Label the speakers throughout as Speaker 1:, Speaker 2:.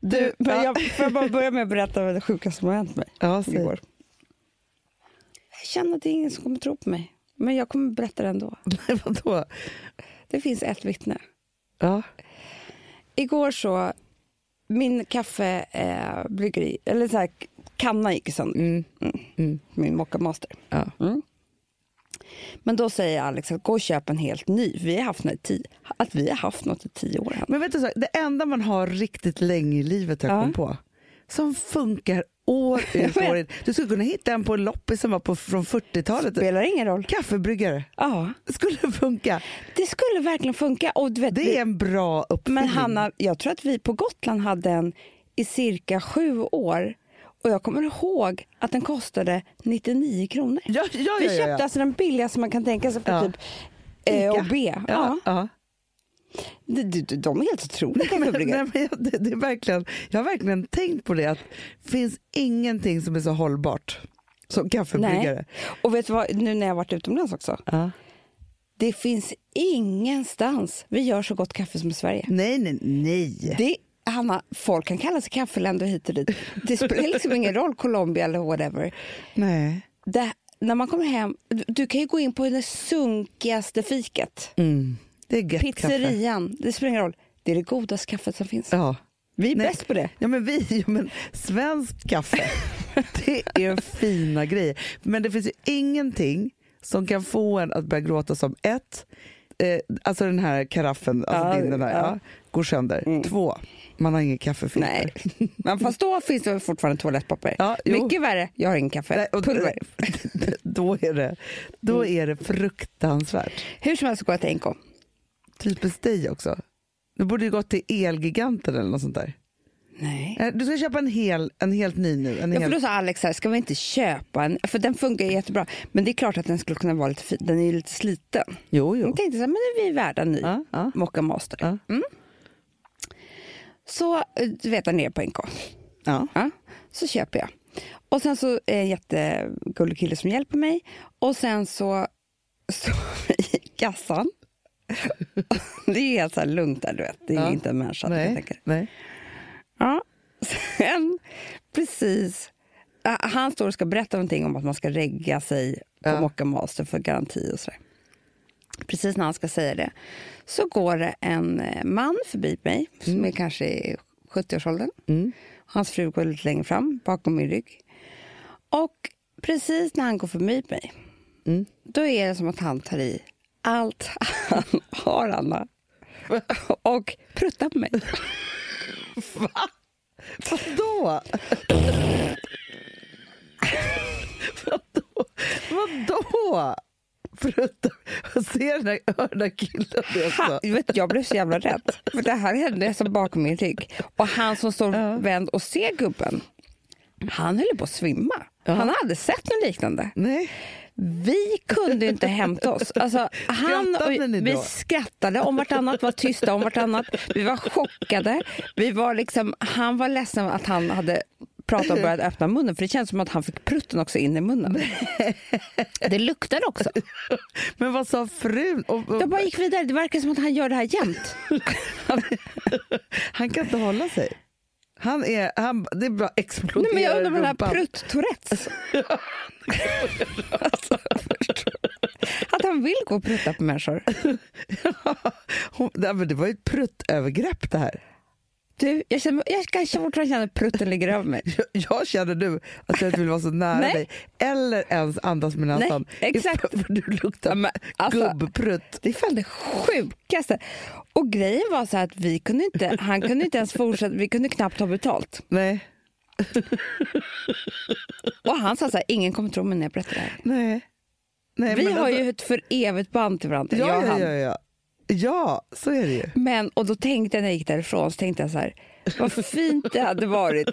Speaker 1: Du, men jag, får jag bara börja med att berätta vad det sjukaste som har hänt mig
Speaker 2: Ja, säg.
Speaker 1: igår? Jag känner att det är ingen som kommer tro på mig, men jag kommer berätta det ändå.
Speaker 2: Men Vadå?
Speaker 1: Det finns ett vittne.
Speaker 2: Ja.
Speaker 1: Igår så, min kaffebryggeri, eh, bryggeri- eller så här, kanna gick sönder,
Speaker 2: Mm.
Speaker 1: min Mocca Master. Mm.
Speaker 2: Ja.
Speaker 1: Men då säger Alex att gå och köp en helt ny. Vi har haft något i tio, att vi har haft något i tio år. Hanna.
Speaker 2: Men vet du, så här, det enda man har riktigt länge i livet jag
Speaker 1: Ja.
Speaker 2: kom på, som funkar år ut och år in. Du skulle kunna hitta en på en loppis som var på, från 40-talet.
Speaker 1: Spelar ingen roll.
Speaker 2: Kaffebryggare.
Speaker 1: Ja,
Speaker 2: Skulle funka.
Speaker 1: det skulle verkligen funka. Och du vet, vi-
Speaker 2: Det är en bra uppfinning.
Speaker 1: Men Hanna, jag tror att vi på Gotland hade en i cirka sju år. Och jag kommer ihåg att den kostade 99 kronor.
Speaker 2: Ja, ja, ja,
Speaker 1: vi
Speaker 2: ja,
Speaker 1: köpte
Speaker 2: ja.
Speaker 1: alltså den billigaste man kan tänka sig på
Speaker 2: Ja.
Speaker 1: typ E och B. Ja.
Speaker 2: eh, Ja, ja.
Speaker 1: De, de, de är helt otroliga
Speaker 2: Men,
Speaker 1: kaffebryggare.
Speaker 2: nej, men jag, det, det är verkligen, jag har verkligen tänkt på det, att det finns ingenting som är så hållbart som kaffebryggare.
Speaker 1: Nej. Och vet du vad, nu när jag varit utomlands också.
Speaker 2: Ja.
Speaker 1: Det finns ingenstans vi gör så gott kaffe som i Sverige.
Speaker 2: Nej, nej, nej.
Speaker 1: Det, Hanna, folk kan kalla sig kaffeländer hit och dit. Det spelar liksom ingen roll, Colombia eller whatever.
Speaker 2: nej.
Speaker 1: det, när man kommer hem, du, du kan ju gå in på det sunkigaste fiket.
Speaker 2: Mm. Det är gött kaffe.
Speaker 1: Pizzerian, det spelar ingen roll. Det är det godaste kaffet som finns.
Speaker 2: Ja.
Speaker 1: Vi är
Speaker 2: Nej.
Speaker 1: bäst på det.
Speaker 2: Ja men vi, ja, men svensk kaffe, det är fina grejer. Men det finns ju ingenting som kan få en att börja gråta som ett, eh, alltså den här karaffen, alltså
Speaker 1: Ja,
Speaker 2: din, den här,
Speaker 1: ja. Mm.
Speaker 2: ja. går sönder. Två, man har ingen kaffefilter.
Speaker 1: Nej, men fast då finns det väl fortfarande toalettpapper.
Speaker 2: Ja, jo.
Speaker 1: Mycket värre, jag har ingen kaffe.
Speaker 2: Nej, och,
Speaker 1: Pulver.
Speaker 2: då är det, då
Speaker 1: Mm.
Speaker 2: är det fruktansvärt.
Speaker 1: Hur som helst går jag till NK.
Speaker 2: Typiskt dig också. Du borde ju gått till Elgiganten eller något sånt där.
Speaker 1: Nej.
Speaker 2: Eh, Du ska köpa en, hel, en helt ny nu. En
Speaker 1: Ja, för
Speaker 2: hel,
Speaker 1: då sa Alex så här, ska vi inte köpa en? För den funkar ju jättebra. Men det är klart att den skulle kunna vara lite fin. Den är ju lite sliten.
Speaker 2: jo,
Speaker 1: Jag
Speaker 2: jo.
Speaker 1: tänkte så här, men nu är vi värda en ny
Speaker 2: Ja, ja.
Speaker 1: Mocca Master.
Speaker 2: Ja.
Speaker 1: Mm. Så, eh, du vet, jag ner på NK.
Speaker 2: Ja.
Speaker 1: Ja, så köper jag. Och sen så är en jättegullig kille som hjälper mig. Och sen så står vi i kassan. Det är ju helt så här lugnt där, du vet. Det är ju
Speaker 2: Ja.
Speaker 1: inte en människa. Jag
Speaker 2: Nej,
Speaker 1: tänker.
Speaker 2: nej.
Speaker 1: Ja. Sen, precis. Ah, Han står och ska berätta någonting om att man ska regga sig på
Speaker 2: Ja.
Speaker 1: Mocca Master för garanti och sådär. Precis när han ska säga det så går det en eh, man förbi mig som är kanske i 70-årsåldern. Hans fru går lite längre fram bakom min rygg. Och precis när han går förbi mig då är det som att han tar i allt han har, Anna. Och pruttar på mig.
Speaker 2: Vadå? Vadå? Vadå? Förutom, jag ser den här, hör den här killen det
Speaker 1: Ha,
Speaker 2: också.
Speaker 1: vet, jag blev så jävla rädd. För det här hände som bakom min rygg. Och han som står vänd och ser gubben, han höll på att svimma. Han hade sett något liknande.
Speaker 2: Nej,
Speaker 1: Vi kunde inte hämta oss. Alltså, han och,
Speaker 2: Skrattade ni
Speaker 1: vi
Speaker 2: då?
Speaker 1: skrattade om vartannat, var tysta om vartannat. Vi var chockade. Vi var liksom, han var ledsen att han hade pratat och börjat öppna munnen. För det kändes som att han fick prutten också in i munnen. Det luktade också.
Speaker 2: men vad sa frun? Och, och,
Speaker 1: Jag bara gick vidare. Det verkar som att han gör det här jämt.
Speaker 2: han kan inte hålla sig. Han är, han, det är bara exploderar
Speaker 1: Nej, men jag undrar
Speaker 2: i
Speaker 1: vad den här
Speaker 2: rumpan.
Speaker 1: prutt-tourettes... alltså, förstår du? att han vill gå och prutta på människor.
Speaker 2: Hon, nej, men det var ju ett pruttövergrepp det här.
Speaker 1: Du, jag, känner, jag kanske fortfarande känner att prutten ligger över mig.
Speaker 2: Jag, jag känner nu att jag inte vill vara så nära
Speaker 1: Nej.
Speaker 2: dig eller ens andas med näsan.
Speaker 1: Nej, exakt.
Speaker 2: För du luktar
Speaker 1: Ja, men, alltså-
Speaker 2: gubbprutt.
Speaker 1: Det är fan det sjukaste. Och grejen var så här att vi kunde inte, han kunde inte ens fortsätta, vi kunde knappt ha betalt.
Speaker 2: Nej,
Speaker 1: Och han sa så här, ingen kommer tro mig när jag berättar det här.
Speaker 2: nej. nej
Speaker 1: vi
Speaker 2: men
Speaker 1: har
Speaker 2: alltså-
Speaker 1: ju ett för evigt band till varandra, jag
Speaker 2: Ja,
Speaker 1: och
Speaker 2: ja,
Speaker 1: han.
Speaker 2: ja, ja. ja, så är det ju.
Speaker 1: Men, och då tänkte jag när jag gick därifrån, så tänkte jag så här, vad fint det hade varit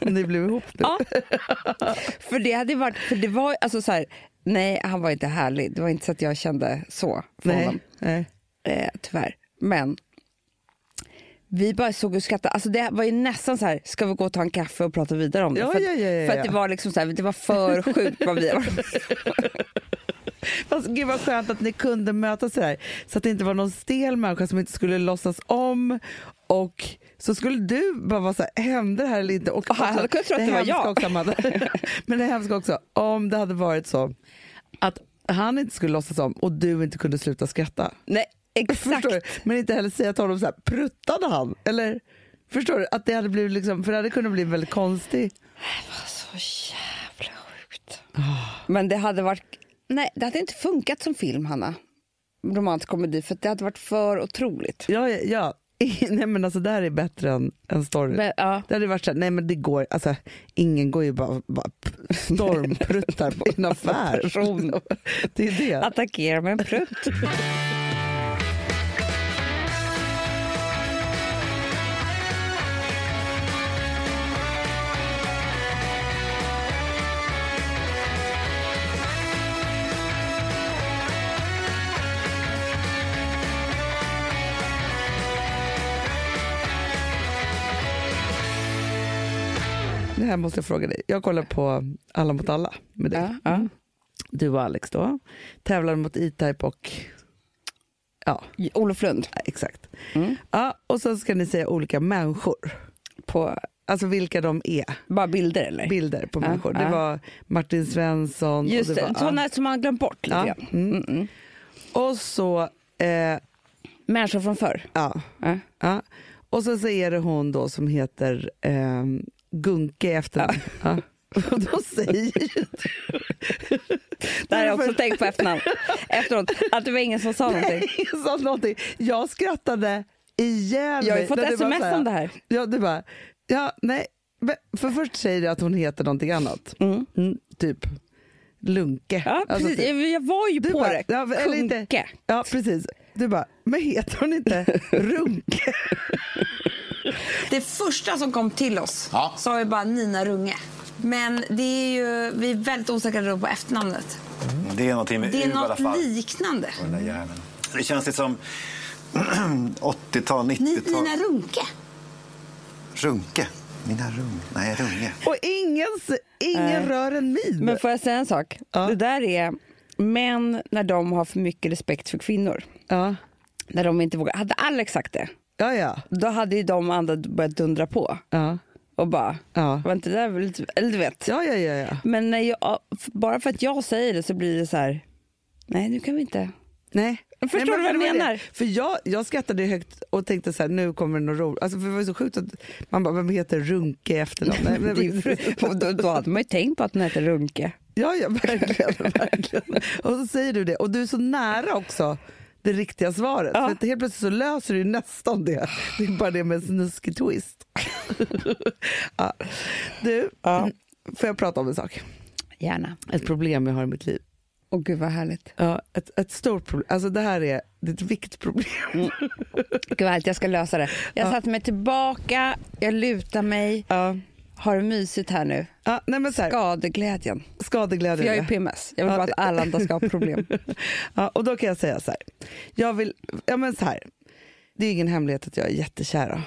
Speaker 2: Om ni blev ihop nu.
Speaker 1: Ja. För det hade ju varit, för det var alltså så här, nej han var inte härlig. Det var inte så att jag kände så för honom,
Speaker 2: nej, nej.
Speaker 1: eh, tyvärr. Men vi bara såg och skrattade. Alltså det var ju nästan så här, ska vi gå och ta en kaffe och prata vidare om det?
Speaker 2: Ja,
Speaker 1: för att,
Speaker 2: ja, ja, ja,
Speaker 1: för att
Speaker 2: ja.
Speaker 1: det var liksom så här, det var för sjukt vad vi var.
Speaker 2: Fast gud vad skönt att ni kunde mötas sådär. Så att det inte var någon stel människa som inte skulle låtsas om Och så skulle du bara vara så här, hände det här eller inte? Och
Speaker 1: jag hade kunnat tro att det var
Speaker 2: hemska
Speaker 1: jag.
Speaker 2: Också, Amanda. men det hemska också, om det hade varit så att han inte skulle låtsas om och du inte kunde sluta skratta.
Speaker 1: Nej, exakt.
Speaker 2: Förstår du? Men inte heller säga till honom så här, pruttade han? Eller förstår du? Att det hade blivit liksom, för det hade kunnat bli väldigt konstigt.
Speaker 1: Så jävla sjukt.
Speaker 2: Ah.
Speaker 1: Men det hade varit... Nej, det hade inte funkat som film, Hanna. Romantisk komedi, för det hade varit för otroligt.
Speaker 2: Ja, ja, ja. nej men alltså det här är bättre än, än story.
Speaker 1: Men, ja.
Speaker 2: Det hade varit såhär, nej men det går, alltså ingen går ju bara, bara p- stormpruttar på en affär.
Speaker 1: person.
Speaker 2: Det är det.
Speaker 1: Attackera med en prutt.
Speaker 2: Det här måste jag fråga dig. Jag kollar på Alla mot alla med dig. Mm.
Speaker 1: Ja, ja.
Speaker 2: Du och Alex då. Tävlar mot E-Type och ja,
Speaker 1: Olof Lund
Speaker 2: exakt.
Speaker 1: Mm.
Speaker 2: Ja, och så ska ni säga olika människor.
Speaker 1: på
Speaker 2: Alltså vilka de är.
Speaker 1: bara bilder, eller?
Speaker 2: Bilder på
Speaker 1: Ja,
Speaker 2: människor. Det
Speaker 1: ja.
Speaker 2: var Martin Svensson.
Speaker 1: Just
Speaker 2: och
Speaker 1: det,
Speaker 2: var,
Speaker 1: sådana som man har glömt bort lite
Speaker 2: Ja,
Speaker 1: grann.
Speaker 2: mm.
Speaker 1: Mm, mm.
Speaker 2: Och så, eh,
Speaker 1: Människor från förr.
Speaker 2: ja,
Speaker 1: Ja.
Speaker 2: ja. Och så, så är det hon då som heter eh, Gunke i efternamn. Ja. Och då säger ju du...
Speaker 1: Det här har jag också tänkt på efternamn. efteråt. Att det var ingen som sa någonting.
Speaker 2: Ingen sa någonting. Jag skrattade ihjäl
Speaker 1: Jag har ju
Speaker 2: mig.
Speaker 1: fått
Speaker 2: När du bara
Speaker 1: sms
Speaker 2: så här-
Speaker 1: om det här.
Speaker 2: Ja, du bara, ja, nej. Men- För först säger du att hon heter någonting annat.
Speaker 1: Mm.
Speaker 2: Mm, typ Lunke.
Speaker 1: Ja,
Speaker 2: Alltså,
Speaker 1: precis.
Speaker 2: typ.
Speaker 1: Jag- Jag var ju
Speaker 2: Du
Speaker 1: på
Speaker 2: bara,
Speaker 1: det.
Speaker 2: ja, men- eller inte.
Speaker 1: Kunke.
Speaker 2: Ja, precis. Du bara, men heter hon inte Runke?
Speaker 3: Det första som kom till oss
Speaker 4: Ja.
Speaker 3: sa ju bara Nina Runge. Men det är ju, vi är väldigt osäkra då på efternamnet.
Speaker 4: Det är någonting med
Speaker 3: Det är
Speaker 4: U i alla
Speaker 3: något
Speaker 4: fall.
Speaker 3: liknande.
Speaker 4: Den där jäveln. Det känns lite som 80-tal,
Speaker 3: Ni,
Speaker 4: 90-tal.
Speaker 3: Nina Runke.
Speaker 4: Runke. Nina Rung. Nej, Runge.
Speaker 2: Och ingen, s- ingen
Speaker 1: Nej.
Speaker 2: rör en min.
Speaker 1: Men får jag säga en sak?
Speaker 2: Ja.
Speaker 1: Det där är män när de har för mycket respekt för kvinnor.
Speaker 2: Ja,
Speaker 1: När de inte vågar. Hade Alex sagt det,
Speaker 2: ja, ja.
Speaker 1: då hade ju de andra börjat dundra på.
Speaker 2: Ja,
Speaker 1: Och bara,
Speaker 2: Ja.
Speaker 1: var inte det där väl lite... Eller du vet.
Speaker 2: ja, ja. ja, ja.
Speaker 1: Men när jag, bara för att jag säger det så blir det så här, nej nu kan vi inte.
Speaker 2: Nej.
Speaker 1: Jag förstår
Speaker 2: Nej,
Speaker 1: vad
Speaker 2: för
Speaker 1: du
Speaker 2: det var
Speaker 1: menar.
Speaker 2: Det. För jag, jag skrattade högt och tänkte så här, nu kommer det något roligt. Alltså, för det var ju så sjukt att man bara, vem heter Runke i efternamn? Nej, men-
Speaker 1: Det är ju- och då, då hade man ju tänkt på att den heter Runke.
Speaker 2: Ja, ja, verkligen, verkligen. Och så säger du det. Och du är så nära också det riktiga svaret.
Speaker 1: Ja.
Speaker 2: För att helt plötsligt så löser du ju nästan det. Det är bara det med en snuskig twist. ja. Du, får jag prata om en sak?
Speaker 1: Mm, Gärna.
Speaker 2: Ett problem jag har i mitt liv.
Speaker 1: Och gud vad härligt.
Speaker 2: Ja, ett, ett stort problem. Alltså det här är, det är ett viktproblem.
Speaker 1: Mm. Gud vad härligt, jag ska lösa det. Jag satte mig tillbaka, jag lutar mig,
Speaker 2: Ja.
Speaker 1: har det mysigt här nu.
Speaker 2: Ja, nej men så här,
Speaker 1: Skadeglädjen. För
Speaker 2: skadeglädje.
Speaker 1: jag är ju PMS. Jag vill
Speaker 2: Ja,
Speaker 1: bara att
Speaker 2: det-
Speaker 1: alla andra ska ha problem.
Speaker 2: ja, och då kan jag säga så här. Jag vill, ja men så här. Det är ingen hemlighet att jag är jättekär. Då.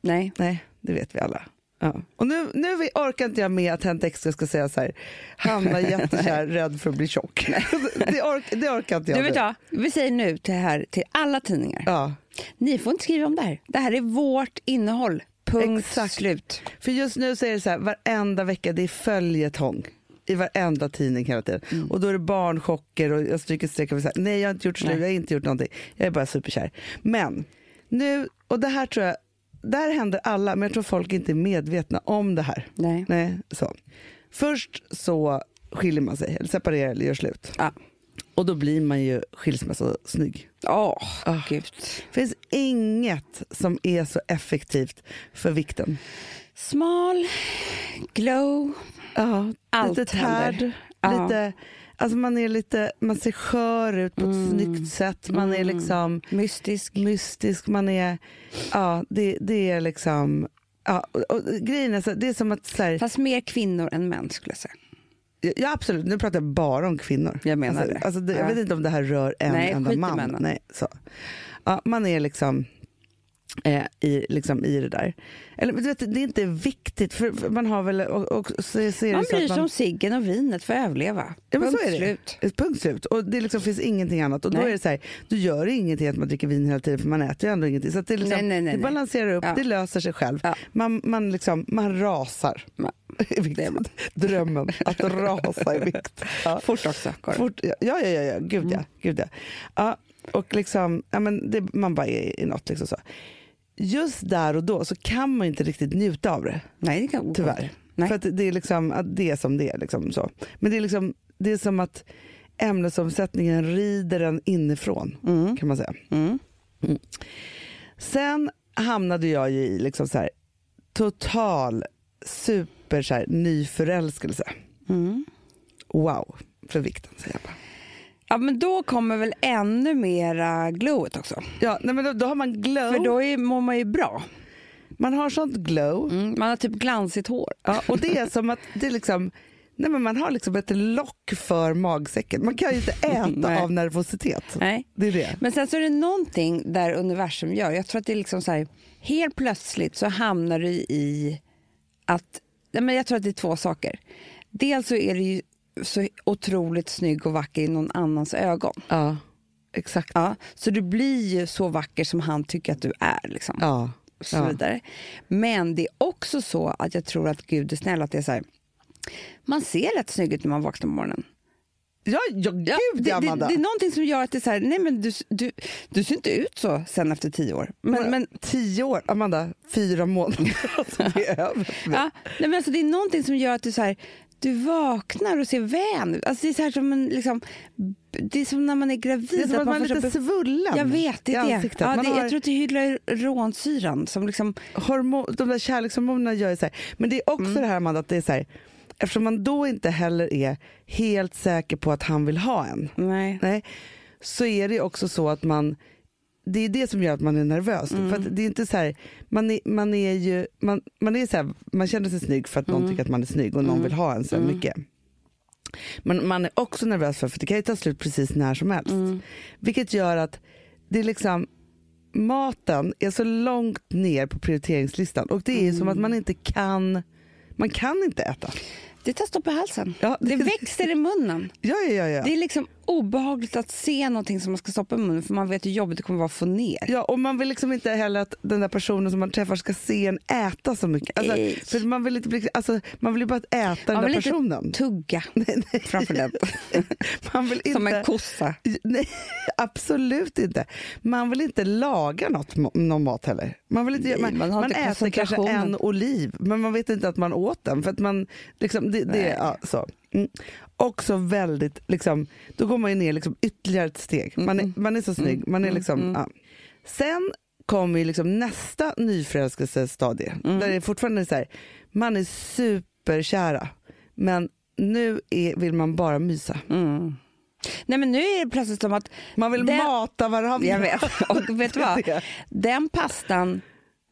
Speaker 1: Nej.
Speaker 2: Nej, det vet vi alla. Ja. Och nu, nu vi- orkar inte jag med att Hänt Extra ska säga så här, Hanna är jättekär, rädd för att bli tjock. det, ork, det orkar inte jag
Speaker 1: Du vet
Speaker 2: med.
Speaker 1: vad, vi säger nu till, här, till alla tidningar.
Speaker 2: Ja.
Speaker 1: Ni får inte skriva om det här. Det här är vårt innehåll. Punkt
Speaker 2: Exakt.
Speaker 1: slut.
Speaker 2: För just nu så är det så här, varenda vecka, det är följetong i varenda tidning hela tiden.
Speaker 1: Mm.
Speaker 2: Och då är det barnchocker och jag stryker streck och säger nej jag har inte gjort slut,
Speaker 1: Nej.
Speaker 2: jag har inte gjort någonting. Jag är bara superkär. Men nu, och det här tror jag, det här händer alla, men jag tror folk inte är medvetna om det här.
Speaker 1: Nej.
Speaker 2: Nej, så. Först så skiljer man sig, eller separerar eller gör slut.
Speaker 1: Ja.
Speaker 2: Och då blir man ju skilsmässosnygg.
Speaker 1: Åh, gud.
Speaker 2: Det finns inget som är så effektivt för vikten.
Speaker 1: Smal, glow.
Speaker 2: Ja,
Speaker 1: Allt
Speaker 2: lite
Speaker 1: händer.
Speaker 2: tärd,
Speaker 1: Ja.
Speaker 2: lite, alltså man är lite, man ser skör ut på ett
Speaker 1: Mm.
Speaker 2: snyggt sätt, man är liksom
Speaker 1: Mystisk.
Speaker 2: mystisk, man är, ja det, det är liksom, ja, och, och, grejen är så, det är som att så här,
Speaker 1: Fast mer kvinnor än män skulle jag säga.
Speaker 2: ja absolut, nu pratar jag bara om kvinnor.
Speaker 1: Jag menar
Speaker 2: alltså,
Speaker 1: det.
Speaker 2: Alltså, det, jag
Speaker 1: Ja.
Speaker 2: vet inte om det här rör en
Speaker 1: Nej,
Speaker 2: enda
Speaker 1: skit i
Speaker 2: man.
Speaker 1: männen.
Speaker 2: Nej, så. Ja, man är liksom eh, i, liksom, i det där. Eller, men du vet, det är inte viktigt, för för man har väl... Och, och, så ser det
Speaker 1: Man
Speaker 2: så
Speaker 1: bryr
Speaker 2: att
Speaker 1: sig om ciggen och vinet för att överleva.
Speaker 2: Ja, men
Speaker 1: Punkt
Speaker 2: så är det.
Speaker 1: slut.
Speaker 2: Ett Punkt slut. Och det liksom finns ingenting annat. Och då
Speaker 1: Nej.
Speaker 2: är det så här, du gör ingenting att man dricker vin hela tiden för man äter ju ändå ingenting. Så att det, är liksom,
Speaker 1: Nej, nej, nej,
Speaker 2: det
Speaker 1: nej.
Speaker 2: balanserar upp,
Speaker 1: Ja.
Speaker 2: det löser sig själv.
Speaker 1: Ja.
Speaker 2: Man, man, liksom, man rasar.
Speaker 1: Ma-
Speaker 2: Är viktigt.
Speaker 1: Det är man.
Speaker 2: Drömmen att rasa är viktigt. Ja.
Speaker 1: Fort också. Karin.
Speaker 2: Fort, ja, ja, ja, ja. Gud,
Speaker 1: Mm.
Speaker 2: ja, gud ja. ja. Och liksom, ja, men det, man bara är i något liksom så. Just där och då så kan man ju inte riktigt njuta av det.
Speaker 1: Nej, det kan
Speaker 2: Tyvärr.
Speaker 1: Nej.
Speaker 2: För att det är liksom att det är som det är. Liksom så. Men det är, liksom, det är som att ämnesomsättningen rider en inifrån
Speaker 1: Mm.
Speaker 2: kan man säga. Mm. Sen hamnade jag ju i liksom så här, total super så här, nyförälskelse.
Speaker 1: Mm.
Speaker 2: Wow, för vikten säger jag bara.
Speaker 1: Ja, men då kommer väl ännu mera glowet också.
Speaker 2: Ja, nej, men då, då har man glow.
Speaker 1: För då är, mår man ju bra.
Speaker 2: Man har sånt glow.
Speaker 1: Mm, man har typ glansigt hår.
Speaker 2: Ja, och det är som att det är liksom, nej men man har liksom ett lock för magsäcken. Man kan ju inte äta
Speaker 1: Nej.
Speaker 2: av nervositet.
Speaker 1: Nej.
Speaker 2: Det är det.
Speaker 1: Men sen så är det någonting där universum gör. Jag tror att det är liksom så här, helt plötsligt så hamnar du i att, nej men jag tror att det är två saker. Dels så är du ju så otroligt snygg och vacker i någon annans ögon.
Speaker 2: Ja, exakt.
Speaker 1: Ja, så du blir ju så vacker som han tycker att du är. Liksom.
Speaker 2: Ja.
Speaker 1: och så vidare. Men det är också så att jag tror att Gud är snäll. Att det är så här, man ser rätt snygg ut när man vaknar på morgonen.
Speaker 2: Ja, ja, gud
Speaker 1: det, det,
Speaker 2: Amanda.
Speaker 1: det är någonting som gör att det är så här, nej men du, du, du ser inte ut så sen efter tio år.
Speaker 2: Mm.
Speaker 1: Men, men,
Speaker 2: tio år, Amanda, fyra månader. Alltså, det är över. för mig.
Speaker 1: ja, nej men alltså, det är någonting som gör att du, så här, du vaknar och ser vän ut. Alltså, det, är så här som en, liksom, det är som när man är gravid.
Speaker 2: Det är som att man är
Speaker 1: får
Speaker 2: lite
Speaker 1: så-
Speaker 2: svullen
Speaker 1: jag vet, det
Speaker 2: i
Speaker 1: är det.
Speaker 2: ansiktet.
Speaker 1: Ja,
Speaker 2: Man
Speaker 1: det
Speaker 2: har-
Speaker 1: Jag tror att det hyllar ronsyran som liksom
Speaker 2: hormon, de där kärlekshormonerna gör ju så här. Men det är också det här Amanda, att det är så här, eftersom man då inte heller är helt säker på att han vill ha en.
Speaker 1: Nej.
Speaker 2: Nej så är det också så att man, det är det som gör att man är nervös. För att det är inte så här, man är, man är ju, man, man är så här, man känner sig snygg för att någon tycker att man är snygg och någon vill ha en så här mycket. Men man är också nervös för, för det kan ju ta slut precis när som helst. Vilket gör att det är liksom, maten är så långt ner på prioriteringslistan och det är ju som att man inte kan, man kan inte äta.
Speaker 1: Det tar stopp i halsen.
Speaker 2: Ja,
Speaker 1: det...
Speaker 2: det-
Speaker 1: växer i munnen.
Speaker 2: Ja, ja, ja. ja.
Speaker 1: Det är liksom obehagligt att se någonting som man ska stoppa i munnen för man vet hur jobbigt det kommer vara att få ner.
Speaker 2: Ja, och man vill liksom inte heller att den där personen som man träffar ska se en äta så mycket. Alltså,
Speaker 1: Nej.
Speaker 2: för man, vill inte bli, alltså, man vill ju bara att äta
Speaker 1: Man
Speaker 2: den
Speaker 1: vill
Speaker 2: där
Speaker 1: inte
Speaker 2: personen.
Speaker 1: tugga framför den.
Speaker 2: man vill inte,
Speaker 1: Som en kossa.
Speaker 2: Nej, absolut inte. Man vill inte laga något, ma- någon mat heller. Man, vill inte,
Speaker 1: Nej,
Speaker 2: man, man,
Speaker 1: man har inte
Speaker 2: äter kanske
Speaker 1: koncentrationen.
Speaker 2: en oliv, men man vet inte att man åt den. För att man, liksom, det, det,
Speaker 1: Nej.
Speaker 2: ja, så. Mm. Också väldigt, liksom, då går man ju ner liksom, ytterligare ett steg. Man är, man är så snygg. Man är liksom,
Speaker 1: Mm.
Speaker 2: ja. Sen kommer ju liksom nästa nyförälskelsestadie.
Speaker 1: Mm.
Speaker 2: Där det fortfarande är så här, man är superkära, men nu är, vill man bara mysa.
Speaker 1: Mm. Nej men nu är det plötsligt som att...
Speaker 2: Man vill
Speaker 1: den-
Speaker 2: mata varandra.
Speaker 1: Jag vet. Och vet du vad?
Speaker 2: Det är det.
Speaker 1: Den pastan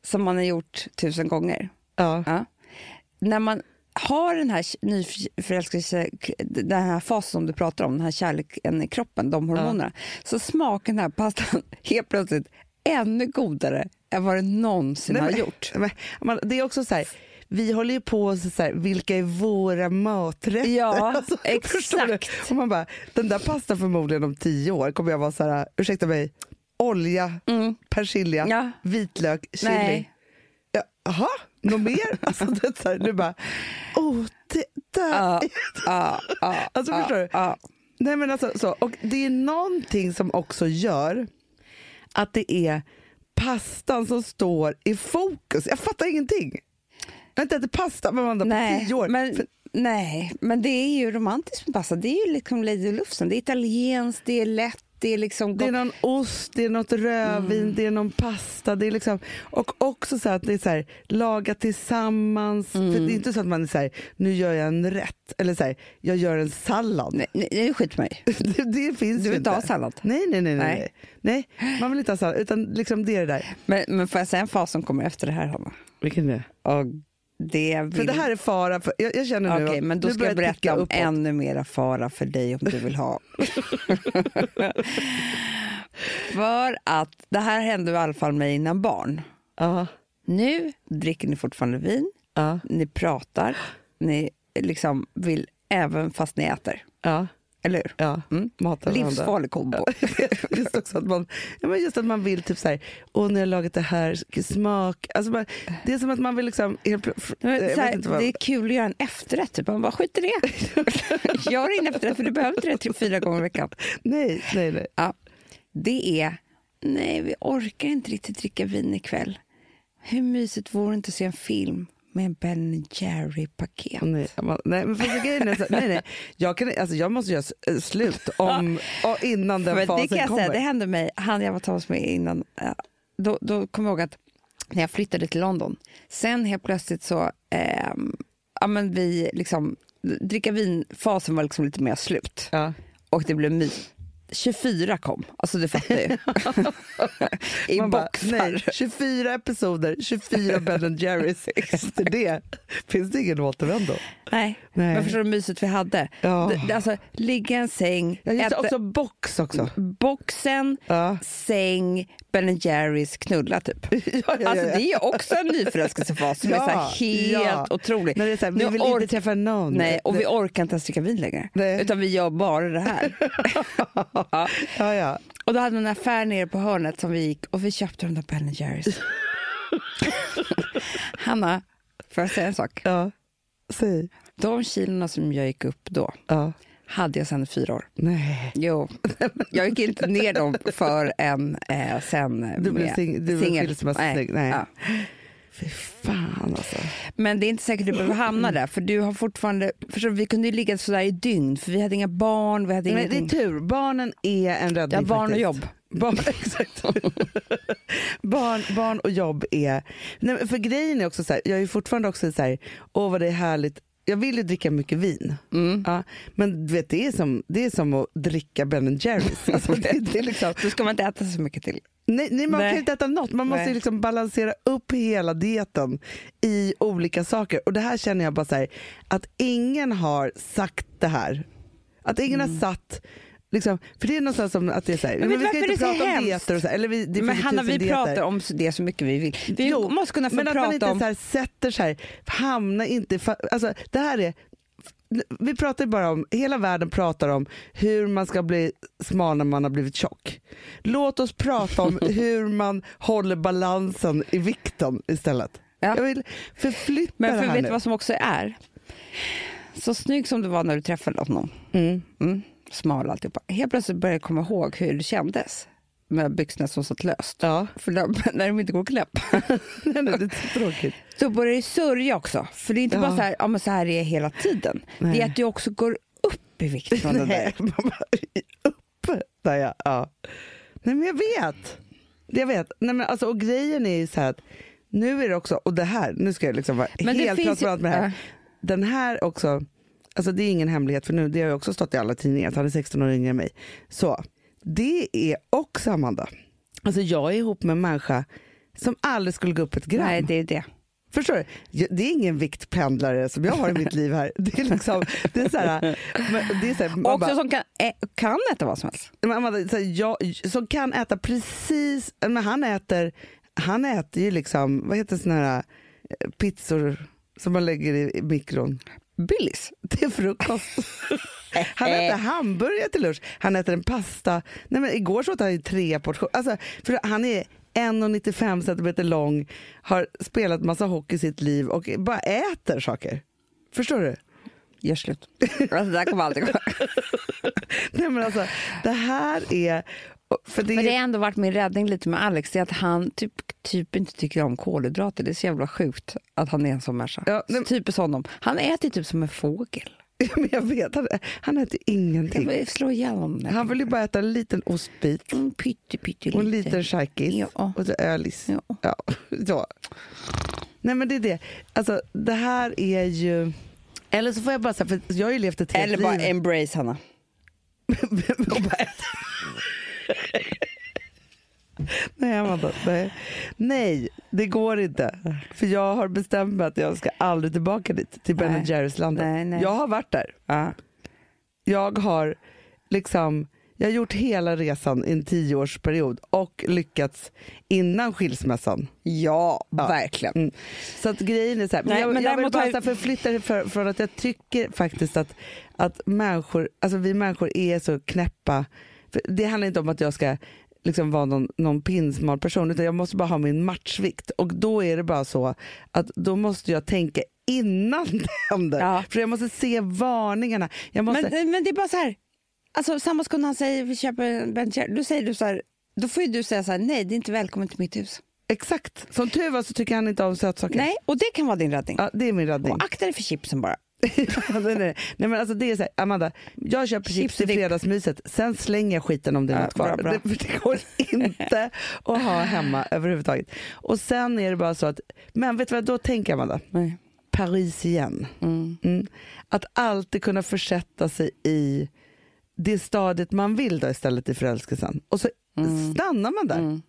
Speaker 1: som man har gjort tusen gånger.
Speaker 2: Ja.
Speaker 1: Ja. När man har den här nyförälskelse, den här fasen som du pratar om, den här kärleken i kroppen, de hormonerna, så smakar den här pastan helt plötsligt ännu godare än vad den någonsin
Speaker 2: Nej,
Speaker 1: har
Speaker 2: men-
Speaker 1: gjort.
Speaker 2: Men, man, det är också så här, vi håller ju på och så här, vilka är våra maträtter? Alltså,
Speaker 1: Ja,
Speaker 2: förstår du?
Speaker 1: exakt.
Speaker 2: Och man bara, den där pastan förmodligen om tio år kommer jag vara så här, ursäkta mig, olja, persilja,
Speaker 1: Mm. Ja.
Speaker 2: vitlök, chili.
Speaker 1: Nej.
Speaker 2: Ja, Jaha, något mer? Alltså, det är så här, du bara, oh, det där.
Speaker 1: Ja, ja, ja,
Speaker 2: Alltså, förstår du?
Speaker 1: Ja,
Speaker 2: Nej men alltså så, och det är någonting som också gör att det är pastan som står i fokus. Jag fattar ingenting. Jag har inte ätit pasta med Amanda på
Speaker 1: nej,
Speaker 2: tio år.
Speaker 1: men,
Speaker 2: För-
Speaker 1: nej, men det är ju romantiskt med pasta. Det är ju liksom Lady Lufsen. Det är italienskt, det är lätt, det är liksom
Speaker 2: det är
Speaker 1: gott.
Speaker 2: någon ost, det är något rödvin,
Speaker 1: Mm.
Speaker 2: det är någon pasta. Det är liksom, och också så att det är så här, laga tillsammans. För
Speaker 1: Mm.
Speaker 2: det är inte så att man är så här, nu gör jag en rätt. Eller så här, jag gör en sallad.
Speaker 1: Nej, nej, det är skit för mig.
Speaker 2: Det, det finns ju inte.
Speaker 1: Du vill inte ha sallad?
Speaker 2: Nej, nej, nej. nej.
Speaker 1: Nej.
Speaker 2: nej. nej man vill inte ha sallad. Utan liksom det är det där.
Speaker 1: Men, men får jag säga en fas som kommer efter det här, Hanna?
Speaker 2: Vilken är det?
Speaker 1: Och det vill...
Speaker 2: För det här är fara. För, jag, jag känner nu
Speaker 1: Okej,
Speaker 2: att
Speaker 1: men då
Speaker 2: nu
Speaker 1: ska
Speaker 2: börjar
Speaker 1: jag berätta
Speaker 2: ticka
Speaker 1: om
Speaker 2: uppåt.
Speaker 1: ännu mera fara för dig om du vill ha. För att det här hände i alla fall mig innan barn.
Speaker 2: Ja.
Speaker 1: Nu dricker ni fortfarande vin,
Speaker 2: Ja.
Speaker 1: ni pratar, ni liksom vill även fast ni äter.
Speaker 2: Ja.
Speaker 1: Eller hur?
Speaker 2: Ja,
Speaker 1: Mm.
Speaker 2: matar varandra.
Speaker 1: Livsfarlig kombo.
Speaker 2: just också att man, ja, men just att man vill typ så här, åh nu har jag lagat det här, ska smak. Alltså man, det är som att man vill liksom, helt plö- fr-
Speaker 1: Men,
Speaker 2: jag
Speaker 1: så
Speaker 2: vet
Speaker 1: här,
Speaker 2: inte vad,
Speaker 1: Det är kul att göra en efterrätt, typ. man bara skiter i det. Gör ingen efterrätt för du behöver inte det tre, fyra gånger i veckan.
Speaker 2: nej, nej, nej.
Speaker 1: Ja, det är, nej vi orkar inte riktigt dricka vin ikväll. Hur mysigt vore det inte att se en film med en Ben Jerry-paket?
Speaker 2: Nej, man, nej, men fast grejen är så, nej, nej. Jag, kan, alltså, jag måste göra s- eh, slut om, och innan den
Speaker 1: Men
Speaker 2: fasen
Speaker 1: det kan jag
Speaker 2: kommer.
Speaker 1: säga, det hände mig, han jag var tillsammans med innan, eh, då, då kom jag ihåg att när jag flyttade till London, sen helt plötsligt så, ehm, ja men vi liksom, dricka vin-fasen var liksom lite mer slut.
Speaker 2: Ja.
Speaker 1: Och det blev my. 24 kom, alltså du fattar ju. I
Speaker 2: Man bara,
Speaker 1: boxar.
Speaker 2: nej, 24 episoder, 24 Ben Jerrys. Efter det finns det ingen återvändo.
Speaker 1: Nej.
Speaker 2: Nej.
Speaker 1: men förstår du hur mysigt vi hade?
Speaker 2: Ja.
Speaker 1: Det, det, alltså, ligga i en säng,
Speaker 2: Ja, just det,
Speaker 1: äta
Speaker 2: också box
Speaker 1: Mm.
Speaker 2: också.
Speaker 1: boxen,
Speaker 2: Ja.
Speaker 1: säng, Ben Jerrys, knulla typ.
Speaker 2: ja, ja,
Speaker 1: Alltså,
Speaker 2: ja.
Speaker 1: det är också en nyförälskelsefas som är så här helt
Speaker 2: ja.
Speaker 1: otrolig.
Speaker 2: När det är så här, vi
Speaker 1: Nu
Speaker 2: vill
Speaker 1: ork-
Speaker 2: inte träffa någon.
Speaker 1: Nej, och vi orkar inte ens dricka vin längre.
Speaker 2: Nej.
Speaker 1: Utan vi gör bara det här. ja.
Speaker 2: Ja, ja.
Speaker 1: Och då hade vi en affär nere på hörnet som vi gick och vi köpte de där Ben Jerrys. Hanna, får jag säga en sak?
Speaker 2: ja. Säg.
Speaker 1: De kilorna som jag gick upp då
Speaker 2: Ja.
Speaker 1: hade jag sen i fyra år.
Speaker 2: Nej.
Speaker 1: Jo, jag gick inte ner dem för en eh, sen
Speaker 2: Du blev
Speaker 1: med
Speaker 2: sing- du blev
Speaker 1: singel.
Speaker 2: skilsmässosnygg. Nej.
Speaker 1: Ja.
Speaker 2: Fy fan alltså.
Speaker 1: Men det är inte säkert du behöver hamna där för du har fortfarande, förstår, du, vi kunde ju ligga sådär i dygn för vi hade inga barn, vi hade
Speaker 2: Men det
Speaker 1: ingenting.
Speaker 2: är tur, barnen är en räddning
Speaker 1: typ- Ja, barn och
Speaker 2: faktiskt.
Speaker 1: jobb.
Speaker 2: Barn, exakt. barn, barn och jobb är... Nej, men för grejen är också så här, jag är ju fortfarande också så här, åh vad det är härligt. Jag vill ju dricka mycket vin.
Speaker 1: Mm.
Speaker 2: Ja, men du vet, det, är som, det är som att dricka Ben Jerrys. Alltså, det, det är liksom,
Speaker 1: Då ska man inte äta så mycket till.
Speaker 2: nej, nej, man kan
Speaker 1: Nej.
Speaker 2: ju inte äta något. Man måste
Speaker 1: Nej.
Speaker 2: ju liksom balansera upp hela dieten i olika saker. Och det här känner jag bara så här, att ingen har sagt det här. Att ingen har satt Liksom, för det är någonstans som att det är så här,
Speaker 1: Mm. vet
Speaker 2: men
Speaker 1: du
Speaker 2: vi ska
Speaker 1: varför det är så
Speaker 2: inte prata om
Speaker 1: hemskt?
Speaker 2: dieter och så här, eller vi, det
Speaker 1: Men
Speaker 2: finns ju
Speaker 1: Hanna, vi
Speaker 2: tusen dieter.
Speaker 1: pratar om det så mycket vi vill. Vi
Speaker 2: Jo,
Speaker 1: måste kunna få
Speaker 2: men att man inte
Speaker 1: prata om...
Speaker 2: så här sätter så här, hamna inte i fa- alltså det här är vi pratar ju bara om, hela världen pratar om hur man ska bli smal när man har blivit tjock. Låt oss prata om hur man håller balansen i vikten istället.
Speaker 1: Ja.
Speaker 2: Jag vill förflytta
Speaker 1: Men
Speaker 2: det
Speaker 1: för
Speaker 2: här
Speaker 1: vet
Speaker 2: nu.
Speaker 1: du vad som också är? Så snygg som du var när du träffade honom, mm. smal och alltihopa. Helt plötsligt började jag komma ihåg hur det kändes med byxorna som satt löst.
Speaker 2: Ja.
Speaker 1: För de, när de inte går att knäppa.
Speaker 2: Nej, nej, det är så tråkigt.
Speaker 1: Då börjar det sörja också. För det är inte
Speaker 2: Ja.
Speaker 1: bara så här, ja men så här är jag hela tiden. Det är att du också går upp i vikt från det där.
Speaker 2: Nej, man bara, uppe där jag, ja. Nej men jag vet. Jag vet. Nej, men alltså, och grejen är ju så här att nu är det också, och det här, nu ska jag liksom vara
Speaker 1: Men det
Speaker 2: helt
Speaker 1: finns ju-
Speaker 2: transparent med det här.
Speaker 1: Ja.
Speaker 2: Den här också, alltså det är ingen hemlighet för nu, det har ju också stått i alla tidningar att han är 16 år yngre än mig. Så det är också Amanda. Alltså jag är ihop med en människa som aldrig skulle gå upp ett gram.
Speaker 1: Nej, det är det.
Speaker 2: Förstår du? Jag- Det är ingen viktpendlare som jag har i mitt liv här. Det är liksom, det är så här, men det är så här man
Speaker 1: Också
Speaker 2: bara-
Speaker 1: som kan, ä, kan äta vad som helst.
Speaker 2: men Amanda, så här, jag, som kan äta precis, men han äter, han äter ju liksom, vad heter sådana här eh, pizzor som man lägger i, i mikron
Speaker 1: Billys.
Speaker 2: till frukost. Han äter hamburgare till lunch, han äter en pasta. Nej men igår så åt han ju tre portioner. Alltså, för han är 1,95 centimeter lång, har spelat massa hockey i sitt liv och bara äter saker. Förstår du?
Speaker 1: Gör slut. Alltså, det där kommer aldrig gå.
Speaker 2: Nej men alltså, det här är... För det,
Speaker 1: Men det har ändå varit min räddning lite med Alex, det är att han typ, typ inte tycker om kolhydrater. Det är så jävla sjukt att han är en sån människa.
Speaker 2: Ja, nej-
Speaker 1: Så typiskt honom. Han äter typ som en fågel.
Speaker 2: men jag vet, han, han äter
Speaker 1: Jag
Speaker 2: ingenting.
Speaker 1: vill slå ihjäl honom. där.
Speaker 2: Han vill ju bara äta en liten ostbit
Speaker 1: Mm, Pytte, pytte
Speaker 2: och en liten charkis
Speaker 1: Ja.
Speaker 2: och så ölis.
Speaker 1: Ja.
Speaker 2: Ja. Så. Nej men det är det. Alltså det här är ju... Eller så får jag bara säga, för jag har ju levt ett helt
Speaker 1: Eller bara
Speaker 2: liv.
Speaker 1: embrace Hanna.
Speaker 2: och bara äta. Nej, Amanda, nej. nej, det går inte. För jag har bestämt mig att jag ska aldrig tillbaka dit, till Ben
Speaker 1: Nej.
Speaker 2: Jerrys landet.
Speaker 1: Nej, nej.
Speaker 2: Jag har varit där. Jag har liksom, Jag har gjort hela resan i en tioårsperiod och lyckats innan skilsmässan.
Speaker 1: Ja, verkligen.
Speaker 2: Mm. Så att grejen är så här, men
Speaker 1: Nej,
Speaker 2: jag,
Speaker 1: men
Speaker 2: jag vill
Speaker 1: däremot
Speaker 2: bara
Speaker 1: har-
Speaker 2: så här förflytta det för, från att jag tycker faktiskt att, att människor, alltså vi människor är så knäppa. För det handlar inte om att jag ska liksom vara någon, någon pinsmal person utan jag måste bara ha min matchvikt och då är det bara så att då måste jag tänka innan det händer.
Speaker 1: Ja.
Speaker 2: För jag måste se varningarna. Jag måste,
Speaker 1: Men, men det är bara så här. Alltså, samboskund han säger vi köper en Ben Jerry", Då säger du så här. Då får ju du säga så här. Nej, det är inte välkommen till mitt hus.
Speaker 2: Exakt. Som tur var så tycker han inte om sötsaker.
Speaker 1: Nej, och det kan vara din räddning.
Speaker 2: Ja, det är min räddning.
Speaker 1: Och akta dig för chipsen bara.
Speaker 2: Ja, nej, nej. nej men alltså det är så här, Amanda, jag köper
Speaker 1: Chips
Speaker 2: chips
Speaker 1: och
Speaker 2: till
Speaker 1: dipp.
Speaker 2: fredagsmyset, sen slänger jag skiten om det är
Speaker 1: Ja,
Speaker 2: något kvar.
Speaker 1: bra, bra.
Speaker 2: Det, för det går inte att ha hemma överhuvudtaget. Och sen är det bara så att, men vet du vad då tänker jag, Amanda?
Speaker 1: Nej.
Speaker 2: Paris igen. Mm. Att alltid kunna försätta sig i det stadiet man vill då istället i förälskelsen. Och så
Speaker 1: Mm.
Speaker 2: stannar man där.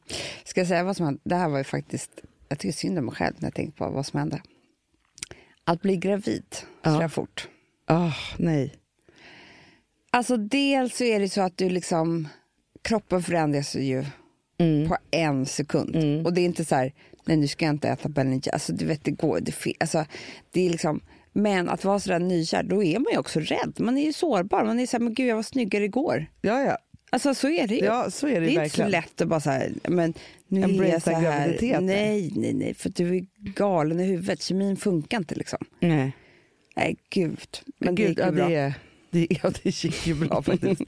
Speaker 1: Ska jag säga vad som hände? Det här var ju faktiskt, jag tycker synd om mig själv när jag tänker på vad som hände. Att bli gravid
Speaker 2: Ja.
Speaker 1: sådär fort.
Speaker 2: Ah, nej.
Speaker 1: Alltså dels så är det så att du liksom, kroppen förändras ju
Speaker 2: Mm.
Speaker 1: på en sekund. Och det är inte så här, nej nu ska jag inte äta Ben Jerry. Alltså du vet det går, det, fin- alltså, det är liksom, men att vara sådär nykär, då är man ju också rädd. Man är ju sårbar, man är såhär, men gud jag var snyggare igår.
Speaker 2: Ja, ja.
Speaker 1: Alltså så är det ju.
Speaker 2: Ja, så är det ju
Speaker 1: det är inte så
Speaker 2: verkligen.
Speaker 1: lätt att bara så här, men nu är
Speaker 2: Embracea
Speaker 1: jag så här.
Speaker 2: graviditeten.
Speaker 1: Nej, nej, nej, för du är galen i huvudet. Kemin funkar inte liksom.
Speaker 2: Nej.
Speaker 1: Nej, gud. Men
Speaker 2: Gud,
Speaker 1: det gick ju
Speaker 2: ja,
Speaker 1: bra.
Speaker 2: Det, det, ja, det gick ju bra faktiskt.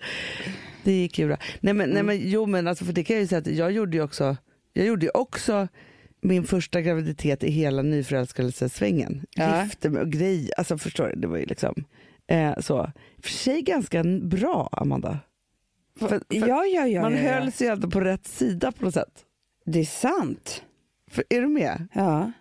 Speaker 2: Det gick ju bra. Nej men,
Speaker 1: Mm.
Speaker 2: nej, men jo men alltså, för det kan jag ju säga att jag gjorde ju också, jag gjorde ju också min första graviditet i hela nyförälskelsesvängen.
Speaker 1: Ja.
Speaker 2: Gifte mig och grej, alltså förstår du, det var ju liksom eh, så. För sig ganska n- bra Amanda. För, för
Speaker 1: ja, ja, ja,
Speaker 2: man
Speaker 1: ja, ja.
Speaker 2: höll sig ju alltid på rätt sida på något sätt.
Speaker 1: Det är sant.
Speaker 2: För, är du med?
Speaker 1: Ja.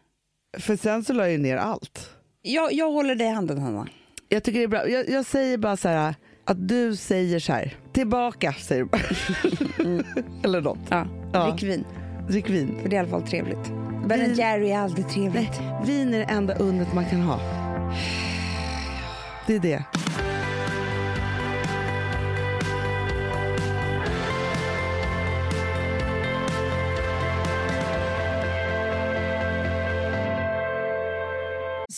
Speaker 2: För sen så la jag ju ner allt.
Speaker 1: Jag, jag håller dig i handen, Hanna.
Speaker 2: Jag tycker det är bra. Jag, jag säger bara så här att du säger så här. Tillbaka säger du bara. Eller något.
Speaker 1: Ja.
Speaker 2: Ja.
Speaker 1: Drick vin,
Speaker 2: Drick vin.
Speaker 1: för det är i alla fall trevligt. Ben Jerry är aldrig trevligt.
Speaker 2: Vin är det enda undret man kan ha. Det är det.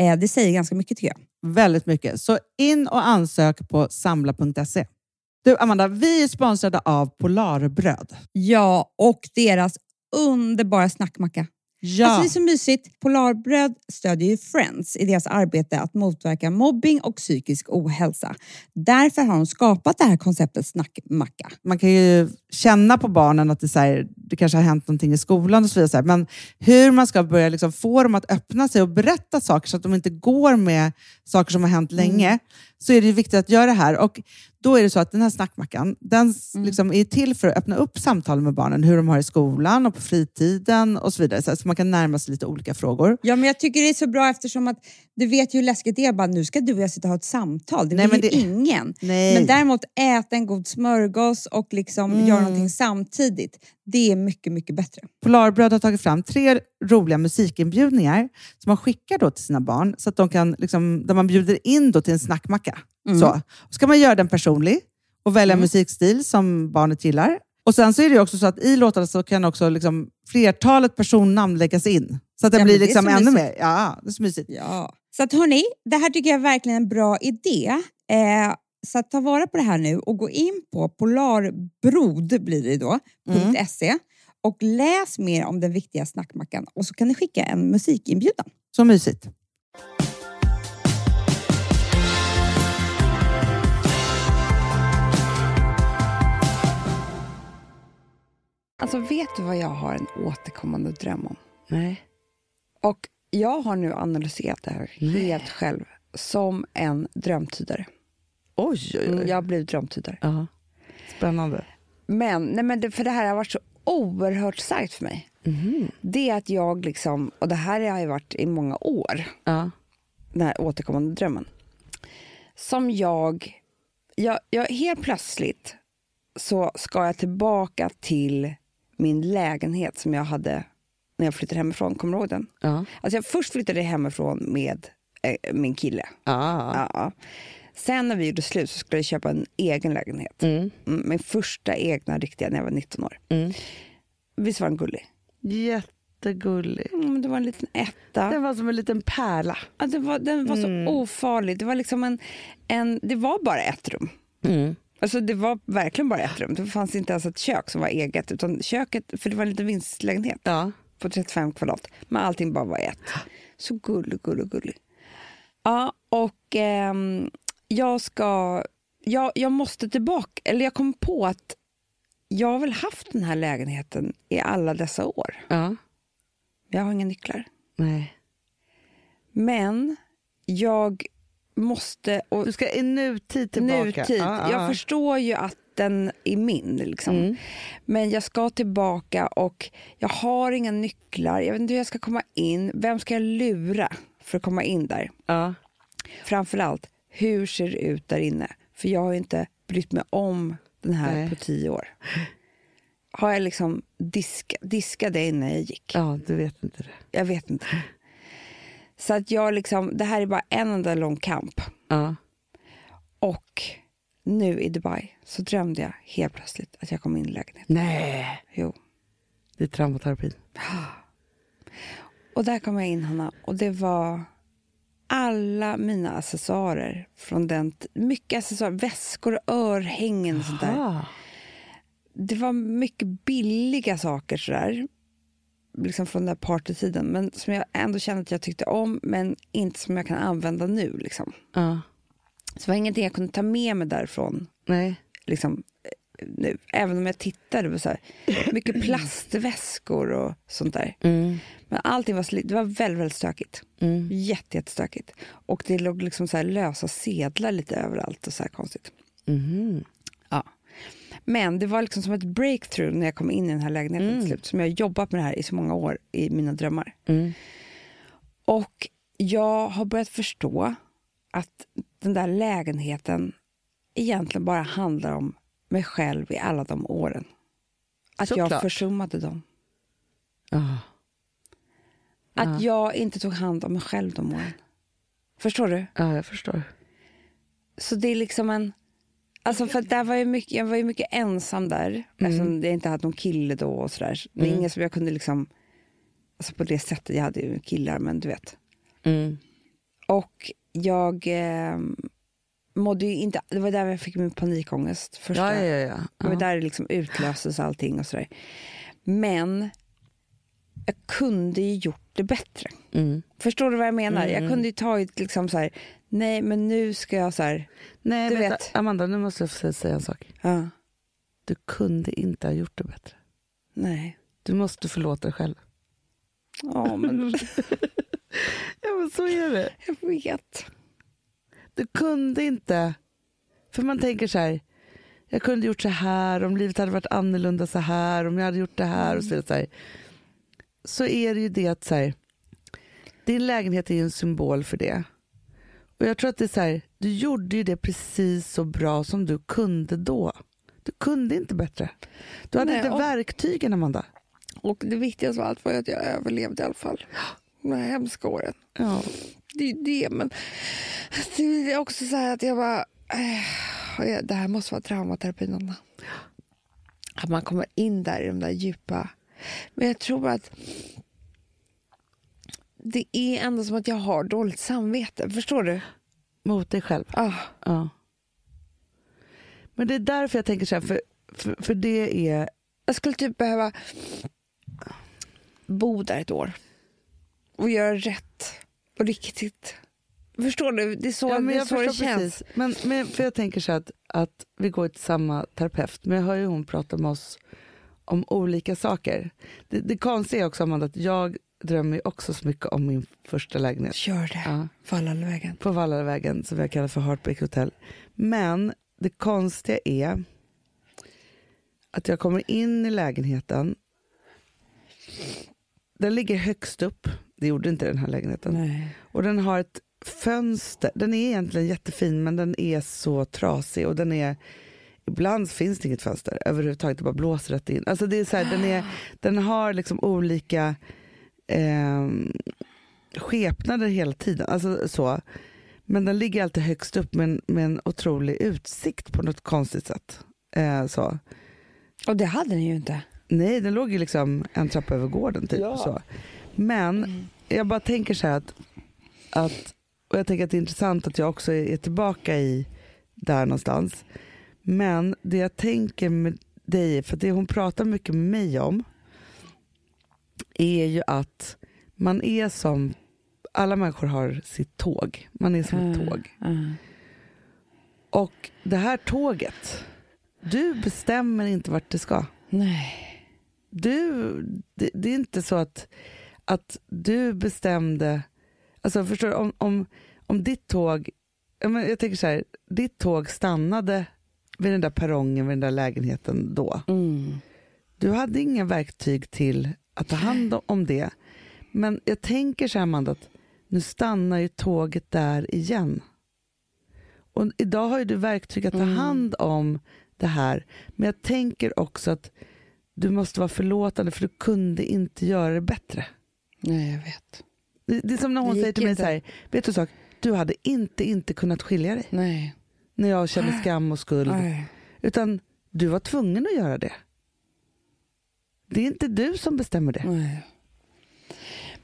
Speaker 5: Eh, det säger ganska mycket tycker jag.
Speaker 6: Väldigt mycket. Så in och ansök på samla.se. Du Amanda, vi är sponsrade av Polarbröd.
Speaker 5: Ja, och deras underbara snackmacka.
Speaker 6: Ja.
Speaker 5: Alltså det är så mysigt. Polarbröd stödjer ju Friends i deras arbete att motverka mobbing och psykisk ohälsa. Därför har de skapat det här konceptet snackmacka.
Speaker 6: man kan ju känna på barnen att det, så här, det kanske har hänt någonting i skolan och så vidare. Så här. Men hur man ska börja liksom få dem att öppna sig och berätta saker så att de inte går med saker som har hänt länge, så är det ju viktigt att göra det här. Och då är det så att den här snackmackan, den s- liksom är till för att öppna upp samtal med barnen, hur de har i skolan och på fritiden och så vidare. Så, här, så man kan närma sig lite olika frågor.
Speaker 5: Ja, men jag tycker det är så bra eftersom att du vet ju hur läskigt det är. Bara, nu ska du och jag sitta och ha ett samtal. Det
Speaker 6: Nej,
Speaker 5: vill
Speaker 6: men
Speaker 5: ju
Speaker 6: det-
Speaker 5: ingen.
Speaker 6: Nej.
Speaker 5: Men däremot äta en god smörgås och liksom göra någonting samtidigt. Det är mycket, mycket bättre.
Speaker 6: Polarbröd har tagit fram tre roliga musikinbjudningar som man skickar då till sina barn, så att de kan, liksom, där man bjuder in då till en snackmacka.
Speaker 1: Mm.
Speaker 6: Så. ska man göra den personlig och välja musikstil som barnet gillar. Och Sen så är det ju också så att i låtarna så kan också liksom flertalet personnamn läggas in. Så att det
Speaker 5: Ja, men
Speaker 6: blir
Speaker 5: det är
Speaker 6: liksom
Speaker 5: så
Speaker 6: ännu
Speaker 5: mysigt.
Speaker 6: mer. Ja, det är så mysigt.
Speaker 5: Ja. Så att hörni, det här tycker jag är verkligen en bra idé. Eh, Så att ta vara på det här nu och gå in på polarbrod blir det då,
Speaker 1: Mm.
Speaker 5: .se och läs mer om den viktiga snackmackan och så kan ni skicka en musikinbjudan.
Speaker 6: Så mysigt.
Speaker 1: Alltså vet du vad jag har en återkommande dröm om?
Speaker 2: Nej.
Speaker 1: Och jag har nu analyserat det här helt själv som en drömtydare.
Speaker 2: Oj, oj,
Speaker 5: Mm.
Speaker 2: oj.
Speaker 1: Jag blev drömtydare.
Speaker 2: Ja. Spännande.
Speaker 1: Men, nej men det, för det här har varit så oerhört starkt för mig.
Speaker 2: Mhm.
Speaker 1: Det är att jag liksom, och det här har ju varit i många år,
Speaker 2: Ja.
Speaker 1: den här återkommande drömmen. Som jag, jag, jag helt plötsligt så ska jag tillbaka till min lägenhet som jag hade när jag flyttade hemifrån. Kommer du ihåg den?
Speaker 2: Ja.
Speaker 1: Alltså jag först flyttade hemifrån med eh, min kille.
Speaker 2: Ah.
Speaker 1: Ja. Sen när vi gjorde slut så skulle jag köpa en egen lägenhet. Mm, Min första egna riktiga när jag var 19 år. Visst var den gullig?
Speaker 2: Jättegullig.
Speaker 1: Mm, det var en liten etta.
Speaker 2: Den var som en liten pärla.
Speaker 1: Ja, det var, den var så ofarlig. Det var, liksom en, en, det var bara ett rum. Alltså det var verkligen bara ett rum. Det fanns inte ens ett kök som var eget. Utan köket, för det var en liten vinstlägenhet
Speaker 2: Ja.
Speaker 1: på 35 kvadrat. Men allting bara var ett. Så gullig, gullig, gullig. Ja, och ehm, jag ska... Jag, jag måste tillbaka. Eller jag kom på att jag har väl haft den här lägenheten i alla dessa år.
Speaker 2: Ja.
Speaker 1: Jag har inga nycklar.
Speaker 2: Nej.
Speaker 1: Men jag måste... Och
Speaker 2: Du ska i nutid tillbaka.
Speaker 1: Nutid.
Speaker 2: Ja, Mm.
Speaker 1: Jag
Speaker 2: ja.
Speaker 1: förstår ju att den är min. Liksom. Men jag ska tillbaka och jag har inga nycklar. Jag vet inte hur jag ska komma in. Vem ska jag lura för att komma in där?
Speaker 2: Ja.
Speaker 1: Framförallt, hur ser det ut där inne? För jag har ju inte brytt mig om den här
Speaker 2: Nej.
Speaker 1: på tio år. Har jag liksom disk, diskade innan jag gick?
Speaker 2: ja, du vet inte det.
Speaker 1: Jag vet inte. Så att jag liksom, det här är bara en enda lång kamp.
Speaker 2: Ja.
Speaker 1: Och nu i Dubai så drömde jag helt plötsligt att jag kom in i lägenheten.
Speaker 2: Nej.
Speaker 1: Jo.
Speaker 2: Det är traumaterapin.
Speaker 1: Och där kom jag in Hanna och det var alla mina accessoarer från den, t- mycket accessoarer, väskor, örhängen och sånt där.
Speaker 2: Ah.
Speaker 1: Det var mycket billiga saker sådär, liksom från den där partytiden, men som jag ändå kände att jag tyckte om, men inte som jag kan använda nu liksom.
Speaker 2: Ja.
Speaker 1: Så det var ingenting jag kunde ta med mig därifrån
Speaker 2: Nej.
Speaker 1: liksom, eh, nu, även om jag tittade på så här, mycket plastväskor och sånt där.
Speaker 2: Mm.
Speaker 1: Men allting var, sli- det var väldigt, väldigt stökigt. Mm. Jätte, jättestökigt. Och det låg liksom så här lösa sedlar lite överallt och så här konstigt.
Speaker 2: Mhm.
Speaker 1: Ja. Men det var liksom som ett breakthrough när jag kom in i den här lägenheten till slut. Som jag har jobbat med det här i så många år i mina drömmar.
Speaker 2: Mm.
Speaker 1: Och jag har börjat förstå att den där lägenheten egentligen bara handlar om mig själv i alla de åren. Att jag
Speaker 2: Såklart.
Speaker 1: försummade dem.
Speaker 2: Ja.
Speaker 1: Att jag inte tog hand om mig själv de åren. Förstår du?
Speaker 2: ja, jag förstår.
Speaker 1: Så det är liksom en... Alltså för att där var jag, mycket, jag var ju mycket ensam där, eftersom jag inte hade någon kille då. och sådär. Så Det är ingen som jag kunde liksom... Alltså på det sättet, jag hade ju killar, men du vet.
Speaker 2: Mm.
Speaker 1: Och jag eh, mådde ju inte... Det var där jag fick min panikångest. Första,
Speaker 2: Ja, ja, ja.
Speaker 1: Det var där det liksom utlöstes allting och sådär. Men jag kunde ju gjort det bättre.
Speaker 2: Mm.
Speaker 1: Förstår du vad jag menar? Jag kunde ju tagit liksom så här, nej men nu ska jag så här,
Speaker 2: Nej,
Speaker 1: Du
Speaker 2: vänta.
Speaker 1: vet.
Speaker 2: Amanda, nu måste jag få säga en sak.
Speaker 1: ja,
Speaker 2: Du kunde inte ha gjort det bättre.
Speaker 1: nej.
Speaker 2: Du måste förlåta dig själv.
Speaker 1: Ja men
Speaker 2: Ja, men så är det.
Speaker 1: jag vet.
Speaker 2: Du kunde inte... För man tänker så här, jag kunde gjort så här, om livet hade varit annorlunda så här, om jag hade gjort det här och så vidare. Så, här. så är det ju det att så här, din lägenhet är ju en symbol för det. Och jag tror att det är så här, du gjorde ju det precis så bra som du kunde då. Du kunde inte bättre. Du hade
Speaker 1: Nej,
Speaker 2: inte
Speaker 1: och-
Speaker 2: verktygen Amanda.
Speaker 1: Och det viktigaste av allt var ju att jag överlevde i alla fall. De här hemska åren.
Speaker 2: Ja.
Speaker 1: Det är ju det men det är också så här att jag bara, eh, jag- det här måste vara traumaterapin Anna. Att man kommer in där i de där djupa, men jag tror bara att det är ändå som att jag har dåligt samvete, förstår du?
Speaker 2: Mot dig själv.
Speaker 1: Ah,
Speaker 2: Ja. Men det är därför jag tänker så här, för, för, för det är...
Speaker 1: Jag skulle typ behöva bo där ett år och göra rätt på riktigt. Förstår du? Det är så, det, är så det
Speaker 2: förstår
Speaker 1: känns.
Speaker 2: precis. Men, men för jag tänker så här att, att vi går till samma terapeut, men jag hör ju hon prata med oss om olika saker. Det, det konstiga är också Amanda, att jag drömmer ju också så mycket om min första lägenhet.
Speaker 1: Gör det.
Speaker 2: Ja.
Speaker 1: Fall alla vägen.
Speaker 2: på Vallavägen som jag kallar för Heartbreak Hotel. Men det konstiga är att jag kommer in i lägenheten. Den ligger högst upp. Det gjorde inte den här lägenheten.
Speaker 1: Nej.
Speaker 2: Och den har ett fönster. Den är egentligen jättefin men den är så trasig och den är Ibland finns det inget fönster överhuvudtaget, det bara blåser rätt in. Alltså det är så här, den, är, den har liksom olika ehm, skepnader hela tiden. Alltså så. Men den ligger alltid högst upp med en, med en otrolig utsikt på något konstigt sätt. Eh, så.
Speaker 1: Och det hade ni ju inte.
Speaker 2: Nej, den låg ju liksom en trappa över gården. Typ, så. Men jag bara tänker så här att, att, och jag tänker att det är intressant att jag också är är tillbaka i där någonstans. Men det jag tänker med dig, för det hon pratar mycket med mig om, är ju att man är som, alla människor har sitt tåg. Man är som ett tåg. Och det här tåget, du bestämmer inte vart det ska
Speaker 1: Nej.
Speaker 2: du, det, det är inte så att, att du bestämde, alltså förstår du, om, om, om ditt tåg, jag, men, jag tänker så här, ditt tåg stannade vid den där perrongen, vid den där lägenheten då.
Speaker 1: Mm.
Speaker 2: Du hade inga verktyg till att ta hand om det. Men jag tänker så här Amanda, att nu stannar ju tåget där igen. Och idag har ju du verktyg att ta
Speaker 1: Mm.
Speaker 2: hand om det här. Men jag tänker också att du måste vara förlåtande för du kunde inte göra det bättre.
Speaker 1: Nej, jag vet.
Speaker 2: Det, det är som när hon
Speaker 1: Det
Speaker 2: säger till mig
Speaker 1: gick
Speaker 2: så här, vet du en sak, du hade inte inte kunnat skilja dig
Speaker 1: Nej.
Speaker 2: när jag kände skam och skuld.
Speaker 1: Nej.
Speaker 2: Utan du var tvungen att göra det. Det är inte du som bestämmer det.
Speaker 1: Nej.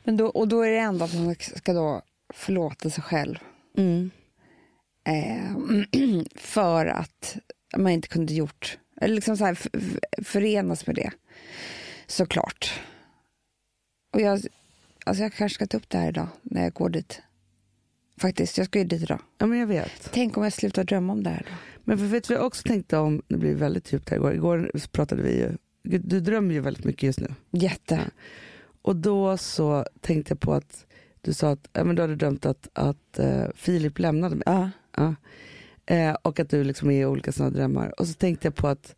Speaker 1: Men då, och då är det ändå att man ska då förlåta sig själv. Mm. Eh, för att man inte kunde gjort, eller liksom så här, f- f- förenas med det. Såklart. Och jag, alltså jag kanske ska ta upp det här idag när jag går dit. Faktiskt, jag ska ju dit idag.
Speaker 2: Ja men jag vet.
Speaker 1: Tänk om jag slutar drömma om det här då.
Speaker 2: Men för vet vi också tänkte om, det blir väldigt djupt här igår, igår så pratade vi ju, Gud, du drömmer ju väldigt mycket just nu.
Speaker 1: Jätte.
Speaker 2: Och då så tänkte jag på att du sa att ja, men du hade drömt att, att eh, Filip lämnade mig.
Speaker 1: Ja.
Speaker 2: Ja. Eh, och att du liksom är i olika sådana drömmar. Och så tänkte jag på att,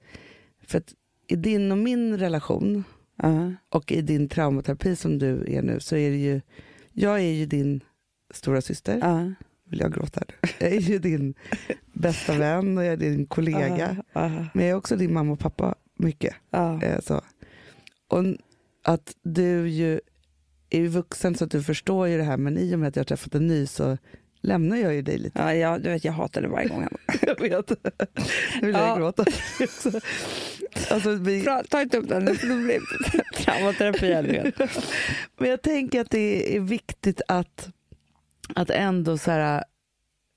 Speaker 2: för att i din och min relation
Speaker 1: Ja.
Speaker 2: och i din traumaterapi som du är nu så är det ju, jag är ju din stora syster.
Speaker 1: Ja.
Speaker 2: Vill jag gråta nu? Jag är ju din bästa vän och jag är din kollega. Men jag är också din mamma och pappa mycket.
Speaker 1: Ja.
Speaker 2: Eh, så. Och n- att du ju är ju vuxen så att du förstår ju det här men i och med att jag har träffat en ny så lämnar jag ju dig lite.
Speaker 1: Ja, jag, du vet, jag hatar det varje gång.
Speaker 2: Jag vet. Nu vill jag
Speaker 1: Ja.
Speaker 2: gråta. Alltså, vi,
Speaker 1: Bra, ta inte upp den nu, för då blir det traumaterapi. här, du vet.
Speaker 2: men jag tänker att det är viktigt att, att ändå så här,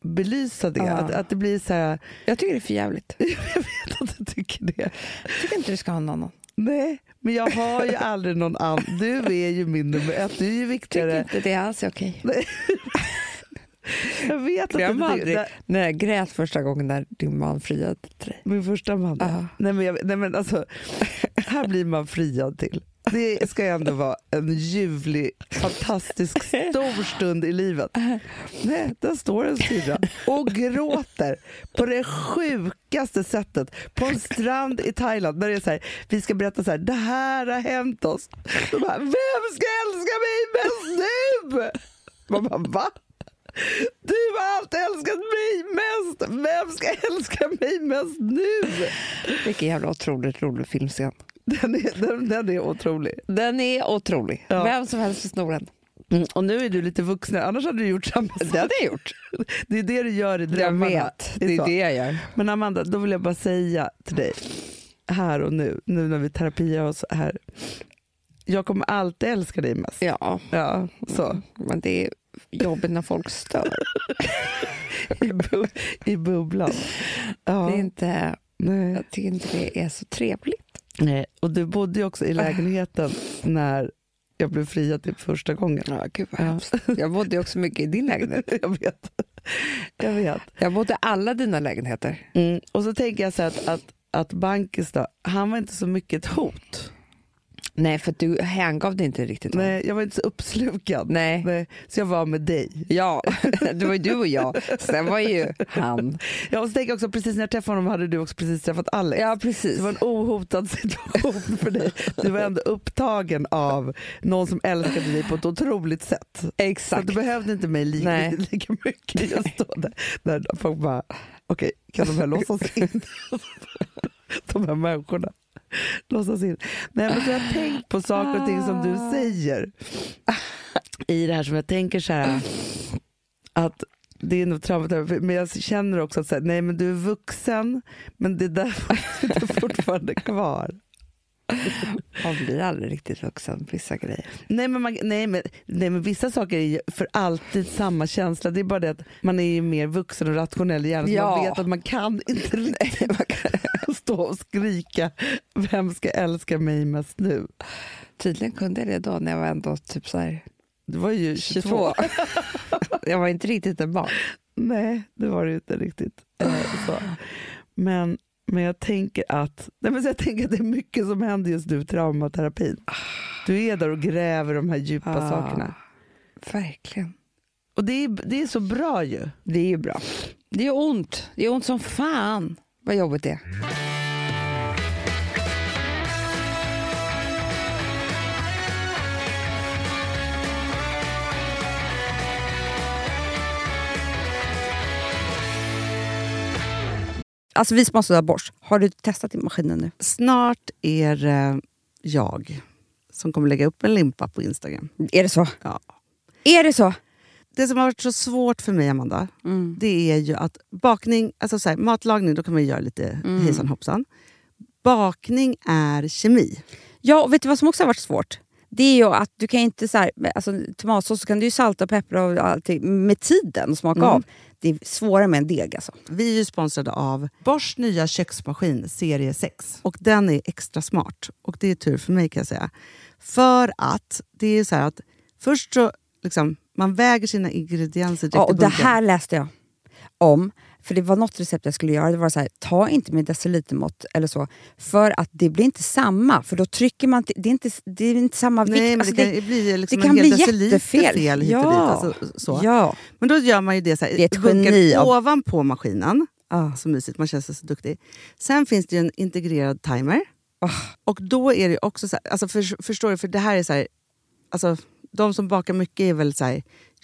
Speaker 2: belysa det.
Speaker 1: Ja.
Speaker 2: Att, att det blir så här,
Speaker 1: Jag tycker det är för jävligt.
Speaker 2: jag vet att du tycker det.
Speaker 1: Jag tycker inte du ska ha någon annan.
Speaker 2: Nej, men jag har ju aldrig någon annan. Du är ju min nummer ett, du är ju
Speaker 1: Tycker
Speaker 2: viktigare.
Speaker 1: inte det alls är okej.
Speaker 2: Jag vet att
Speaker 1: Glöm
Speaker 2: du tycker-
Speaker 1: aldrig när jag grät första gången när din man friade till dig.
Speaker 2: Min första man.
Speaker 1: Ja.
Speaker 2: Nej, men jag, nej men alltså, här blir man friad till. Det ska ändå vara en ljuvlig, fantastisk, stor stund i livet. Nej, där står en syrra och gråter på det sjukaste sättet på en strand i Thailand. När det är så här, vi ska berätta så här, det här har hänt oss. Och Bara, Vem ska älska mig mest nu? Man bara, va? Du har alltid älskat mig mest! Vem ska älska mig mest nu?
Speaker 1: Vilken jävla otroligt rolig filmscen.
Speaker 2: Den är, den, den är otrolig.
Speaker 1: Den är otrolig.
Speaker 2: Ja.
Speaker 1: Vem som helst får sno den.
Speaker 2: Mm, Och nu är du lite vuxnare, annars hade du gjort samma sak.
Speaker 1: Det hade jag gjort.
Speaker 2: Det är det du gör i drömmarna. så.
Speaker 1: jag gör.
Speaker 2: Men Amanda, då vill jag bara säga till dig, här och nu, nu när vi terapiar oss här. Jag kommer alltid älska dig mest.
Speaker 1: Ja,
Speaker 2: Ja, så.
Speaker 1: men det är jobbigt när folk stör.
Speaker 2: I, bu- i bubblan. Ja.
Speaker 1: Det är inte...
Speaker 7: Nej.
Speaker 8: Jag tycker inte det är så trevligt.
Speaker 7: Nej. Och du bodde ju också i lägenheten när jag blev friad
Speaker 2: typ
Speaker 7: till första gången.
Speaker 8: Ja, gud vad hemskt. Jag bodde ju också mycket i din lägenhet.
Speaker 7: Jag vet. Jag vet.
Speaker 8: Jag bodde i alla dina lägenheter.
Speaker 7: Mm. Och så tänker jag så här att, att, att Bankis då, han var inte så mycket ett hot.
Speaker 8: Nej, för du hängav dig inte riktigt. Nej.
Speaker 7: Nej, jag var inte så uppslukad.
Speaker 8: Nej.
Speaker 7: Nej. Så jag var med dig.
Speaker 8: Ja, det var ju du och jag. Sen var ju han.
Speaker 7: Ja, och så tänker jag också, precis när jag träffade honom hade du också precis träffat Alex.
Speaker 8: Ja, precis.
Speaker 7: Det var en ohotad situation för dig. Du var ändå upptagen av någon som älskade dig på ett otroligt sätt. Så att
Speaker 8: Exakt.
Speaker 7: du behövde inte mig lika,
Speaker 8: Nej.
Speaker 7: lika mycket just då. Där, där folk bara, okej, kan de här låtsas in? de här människorna. Låtsas in. Nej, men så jag har tänkt på saker och ting som
Speaker 8: Ah.
Speaker 7: du säger. I det här som jag tänker så här, att det är nog traumaterapi, men jag känner också att så här, nej men du är vuxen, men det där sitter fortfarande kvar.
Speaker 8: Man blir aldrig riktigt vuxen på vissa grejer.
Speaker 7: Nej men, man, nej, men, nej men vissa saker är ju för alltid samma känsla. Det är bara det att man är ju mer vuxen och rationell i hjärnan. Så
Speaker 8: Ja.
Speaker 7: man vet att man kan inte riktigt stå och skrika vem ska älska mig mest nu.
Speaker 8: Tydligen kunde jag det då när jag var ändå typ så här
Speaker 7: Det var ju 22.
Speaker 8: 22. jag var inte riktigt ett barn.
Speaker 7: Nej, det var det ju inte riktigt. Eh, så. Men, men jag tänker att nej men så jag tänker att det är mycket som händer just nu i traumaterapin. Du är där och gräver de här djupa
Speaker 8: Ah.
Speaker 7: sakerna.
Speaker 8: Verkligen.
Speaker 7: Och det är, det är så bra ju.
Speaker 8: Det är ju bra. Det är ont. Det är ont som fan vad jobbigt det är.
Speaker 1: Alltså vi som har sådär borst, har du testat i maskinen nu?
Speaker 2: Snart är det jag som kommer lägga upp en limpa på Instagram.
Speaker 1: Är det så?
Speaker 2: Ja.
Speaker 1: Är det så?
Speaker 2: Det som har varit så svårt för mig, Amanda,
Speaker 1: Mm.
Speaker 2: det är ju att bakning, alltså så här, matlagning, då kan man ju göra lite
Speaker 1: Mm.
Speaker 2: hejsan hoppsan. Bakning är kemi.
Speaker 1: Ja, och vet du vad som också har varit svårt? Det är ju att du kan ju inte så här, alltså, tomatsås så kan du ju salta och peppra och allting med tiden och
Speaker 2: Mm.
Speaker 1: smaka av. Det är svårare med en deg alltså.
Speaker 2: Vi är ju sponsrade av Bors nya köksmaskin serie 6. Och den är extra smart. Och det är tur för mig kan jag säga. För att det är så här att först så liksom, man väger sina ingredienser direkt
Speaker 1: Ja, och
Speaker 2: i
Speaker 1: det
Speaker 2: bunken.
Speaker 1: här läste jag om. För det var något recept jag skulle göra. Det var så här, ta inte med decilitermått eller så. För att det blir inte samma. För då trycker man... Det är inte, det är inte samma vikt.
Speaker 2: Nej, men
Speaker 1: Alltså,
Speaker 2: det kan ju bli liksom
Speaker 1: det kan
Speaker 2: en hel
Speaker 1: bli
Speaker 2: deciliter
Speaker 1: jättefel.
Speaker 2: fel hit och dit, alltså, så.
Speaker 1: Ja.
Speaker 2: Men då gör man ju det så här,
Speaker 1: Det är ett
Speaker 2: i bunkern
Speaker 1: geni av-
Speaker 2: ovanpå maskinen.
Speaker 1: Ah.
Speaker 2: Så mysigt, man känns så duktig. Sen finns det ju en integrerad timer.
Speaker 1: Ah.
Speaker 2: Och då är det ju också så här, alltså för, förstår du, för det här är så här, alltså de som bakar mycket är väl så här,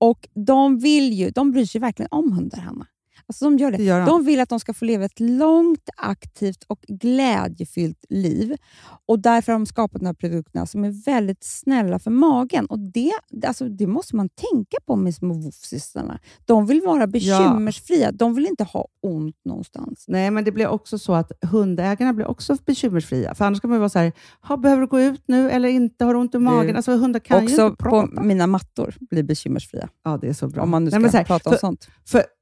Speaker 1: Och de vill ju, de bryr sig verkligen om hundar, Hanna.
Speaker 5: Alltså de gör det.
Speaker 6: Det gör de.
Speaker 5: de vill att de ska få leva ett långt, aktivt och glädjefyllt liv. Och Därför har de skapat de här produkterna som är väldigt snälla för magen. Och Det, alltså det måste man tänka på med små voffsysslorna. De vill vara bekymmersfria. De vill inte ha ont någonstans.
Speaker 6: Nej, men det blir också så att hundägarna blir också bekymmersfria. För annars kan man ju vara så här, "Ha, behöver du gå ut nu eller inte? Har du ont i magen? Alltså hundar kan ju
Speaker 5: Också
Speaker 6: inte
Speaker 5: på
Speaker 6: prata.
Speaker 5: mina mattor blir bekymmersfria.
Speaker 6: Ja, det är så bra.
Speaker 5: Om man nu ska
Speaker 6: Nej, men så här,
Speaker 5: prata om
Speaker 6: för,
Speaker 5: sånt.
Speaker 6: För,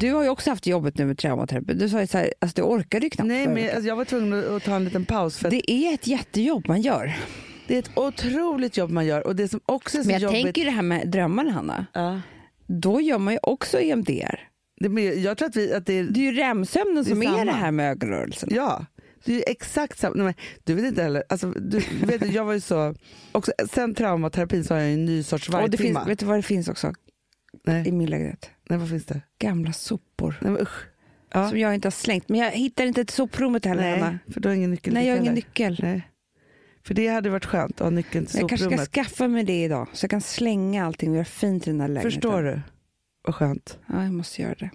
Speaker 1: Du har ju också haft jobbet nu med traumaterapi. Du sa ju så här, alltså du orkade ju knappt
Speaker 2: Nej,
Speaker 1: förra
Speaker 2: men
Speaker 1: veckan.
Speaker 2: alltså, jag var tvungen att- att ta en liten paus. För att Alltså,
Speaker 1: Det är ett jättejobb man gör.
Speaker 2: det är ett otroligt jobb man gör. Och det som också är så
Speaker 1: Men jag
Speaker 2: jobbigt...
Speaker 1: tänker ju det här med drömmarna, Hanna.
Speaker 2: Ja.
Speaker 1: Då gör man ju också EMDR.
Speaker 2: Det, men jag tror att, vi, att det är...
Speaker 1: Det är ju REM-sömnen
Speaker 2: Det är
Speaker 1: som är
Speaker 2: samma.
Speaker 1: det här med ögonrörelsen.
Speaker 2: Ja, det är ju exakt samma. Nej, men, du vet inte heller. Alltså, du, vet, du, jag var ju så... Också, sen traumaterapin så har jag ju en ny sorts
Speaker 1: Och det
Speaker 2: vargflimma.
Speaker 1: finns, vet du vad det finns också i
Speaker 2: Nej,
Speaker 1: min lägenhet?
Speaker 2: nej, vad finns det?
Speaker 1: Gamla sopor.
Speaker 2: Nej, men usch. Ja.
Speaker 1: Som jag inte har slängt. Men jag hittar inte till soprummet heller, Hanna.
Speaker 2: Nej, för du har ingen nyckel.
Speaker 1: Nej, jag har
Speaker 2: heller.
Speaker 1: ingen nyckel.
Speaker 2: Nej. För det hade varit skönt att ha nyckeln till
Speaker 1: Men jag kanske
Speaker 2: soprummet.
Speaker 1: ska skaffa mig det idag, så jag kan slänga allting och göra fint i den här lägenheten.
Speaker 2: Förstår du? Vad skönt.
Speaker 1: Ja, jag måste göra det.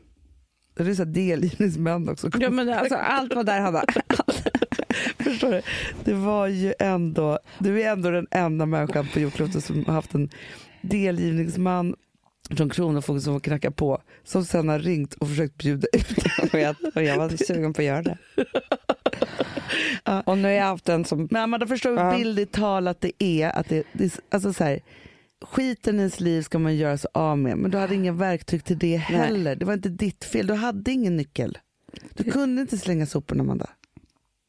Speaker 2: Det är så här delgivningsmän också.
Speaker 1: Ja, men alltså, allt var där, Hanna.
Speaker 2: Förstår du? Det var ju ändå, du är ändå den enda människan på jordklotet som har haft en delgivningsman från Kronofogden som knackar på, som sen har ringt och försökt bjuda ut.
Speaker 1: och, jag, och jag var sugen på att göra det. Och nu har jag haft en som...
Speaker 2: Men Amanda förstår hur
Speaker 1: Ja.
Speaker 2: billigt talat det är. Att det, det, är- alltså så här, skiten i ens liv ska man göra sig av med, men du hade inga verktyg till det heller. Det var inte ditt fel, du hade ingen nyckel. Du kunde inte slänga soporna Amanda.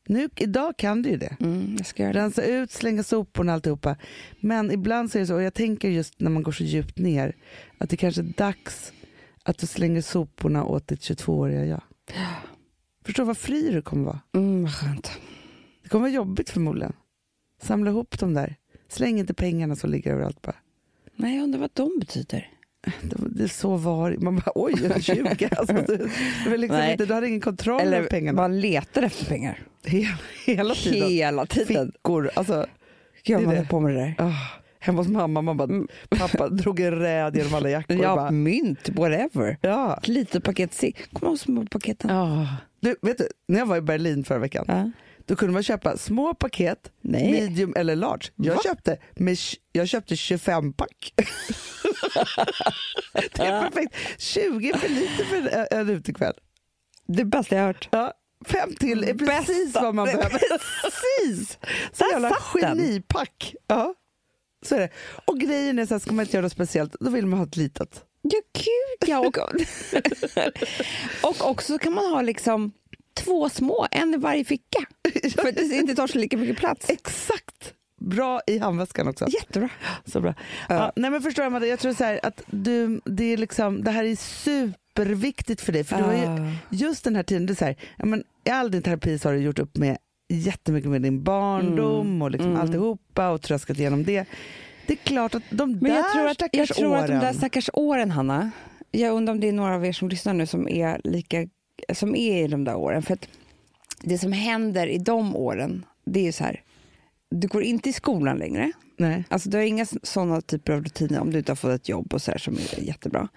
Speaker 2: Nu, idag kan du ju det.
Speaker 1: Mm, jag ska göra det.
Speaker 2: Rensa ut, slänga soporna alltihopa. Men ibland så är det så, och jag tänker just när man går så djupt ner, att det kanske är dags att du slänger soporna åt ditt 22-åriga jag. Förstår vad fri du kommer vara.
Speaker 1: Mm, vad skönt.
Speaker 2: Det kommer vara jobbigt förmodligen. Samla ihop dem där. Släng inte pengarna som ligger överallt bara.
Speaker 1: Nej, jag undrar vad de betyder.
Speaker 2: Det, det är så var Man bara, oj, jag är 20. Alltså, du, du, var liksom
Speaker 1: Nej.
Speaker 2: inte, du hade ingen kontroll över pengarna.
Speaker 1: man letar efter pengar.
Speaker 2: hela, hela tiden.
Speaker 1: Hela tiden.
Speaker 2: Fickor. Alltså,
Speaker 1: Gud,
Speaker 2: det är
Speaker 1: man
Speaker 2: det.
Speaker 1: höll på med det där.
Speaker 2: ah, hemma hos mamma, mamma pappa drog en räd genom alla jackor. och
Speaker 1: Ja,
Speaker 2: bara,
Speaker 1: mynt, whatever.
Speaker 2: Ja.
Speaker 1: Ett litet paket sill. Kommer ihåg små paketen?
Speaker 2: Du, vet du, när jag var i Berlin förra veckan,
Speaker 1: Ja.
Speaker 2: då kunde man köpa små paket,
Speaker 1: Nej.
Speaker 2: medium eller large. Jag, köpte, med, tj- jag köpte 25 pack. det är
Speaker 1: Ah.
Speaker 2: perfekt. 20 är för lite för en, en utekväll.
Speaker 1: Det bästa jag har hört.
Speaker 2: Ja. Fem
Speaker 1: Mm.
Speaker 2: till är precis vad man behöver. Precis! Så
Speaker 1: Där
Speaker 2: jävla
Speaker 1: satt den.
Speaker 2: genipack. Ja. Så är det. Och grejen är så här, ska man inte göra något speciellt, då vill man ha ett litet.
Speaker 1: Ja, gud ja. Och, och också kan man ha liksom två små, en i varje ficka. För att det inte tar så lika mycket plats.
Speaker 2: Exakt! Bra i handväskan också.
Speaker 1: Jättebra.
Speaker 2: Så bra. Ja. nej men förstår du Amanda, jag tror så här att du, det, är liksom, det här är superviktigt för dig. För du har
Speaker 1: Ah.
Speaker 2: ju, just den här tiden, det är så här, ja, men, i all din terapi så har du gjort upp med jättemycket med din barndom och liksom alltihopa och tröskat igenom det. Det är klart att de
Speaker 1: Men
Speaker 2: där
Speaker 1: jag tror, att, jag
Speaker 2: stackars
Speaker 1: tror
Speaker 2: åren.
Speaker 1: att de där stackars åren, Hanna. Jag undrar om det är några av er som lyssnar nu som är, lika, som är i de där åren. För att det som händer i de åren, det är ju så här. Du går inte i skolan längre.
Speaker 2: Nej.
Speaker 1: Alltså, du har inga sådana typer av rutiner om du inte har fått ett jobb och så här, som är jättebra.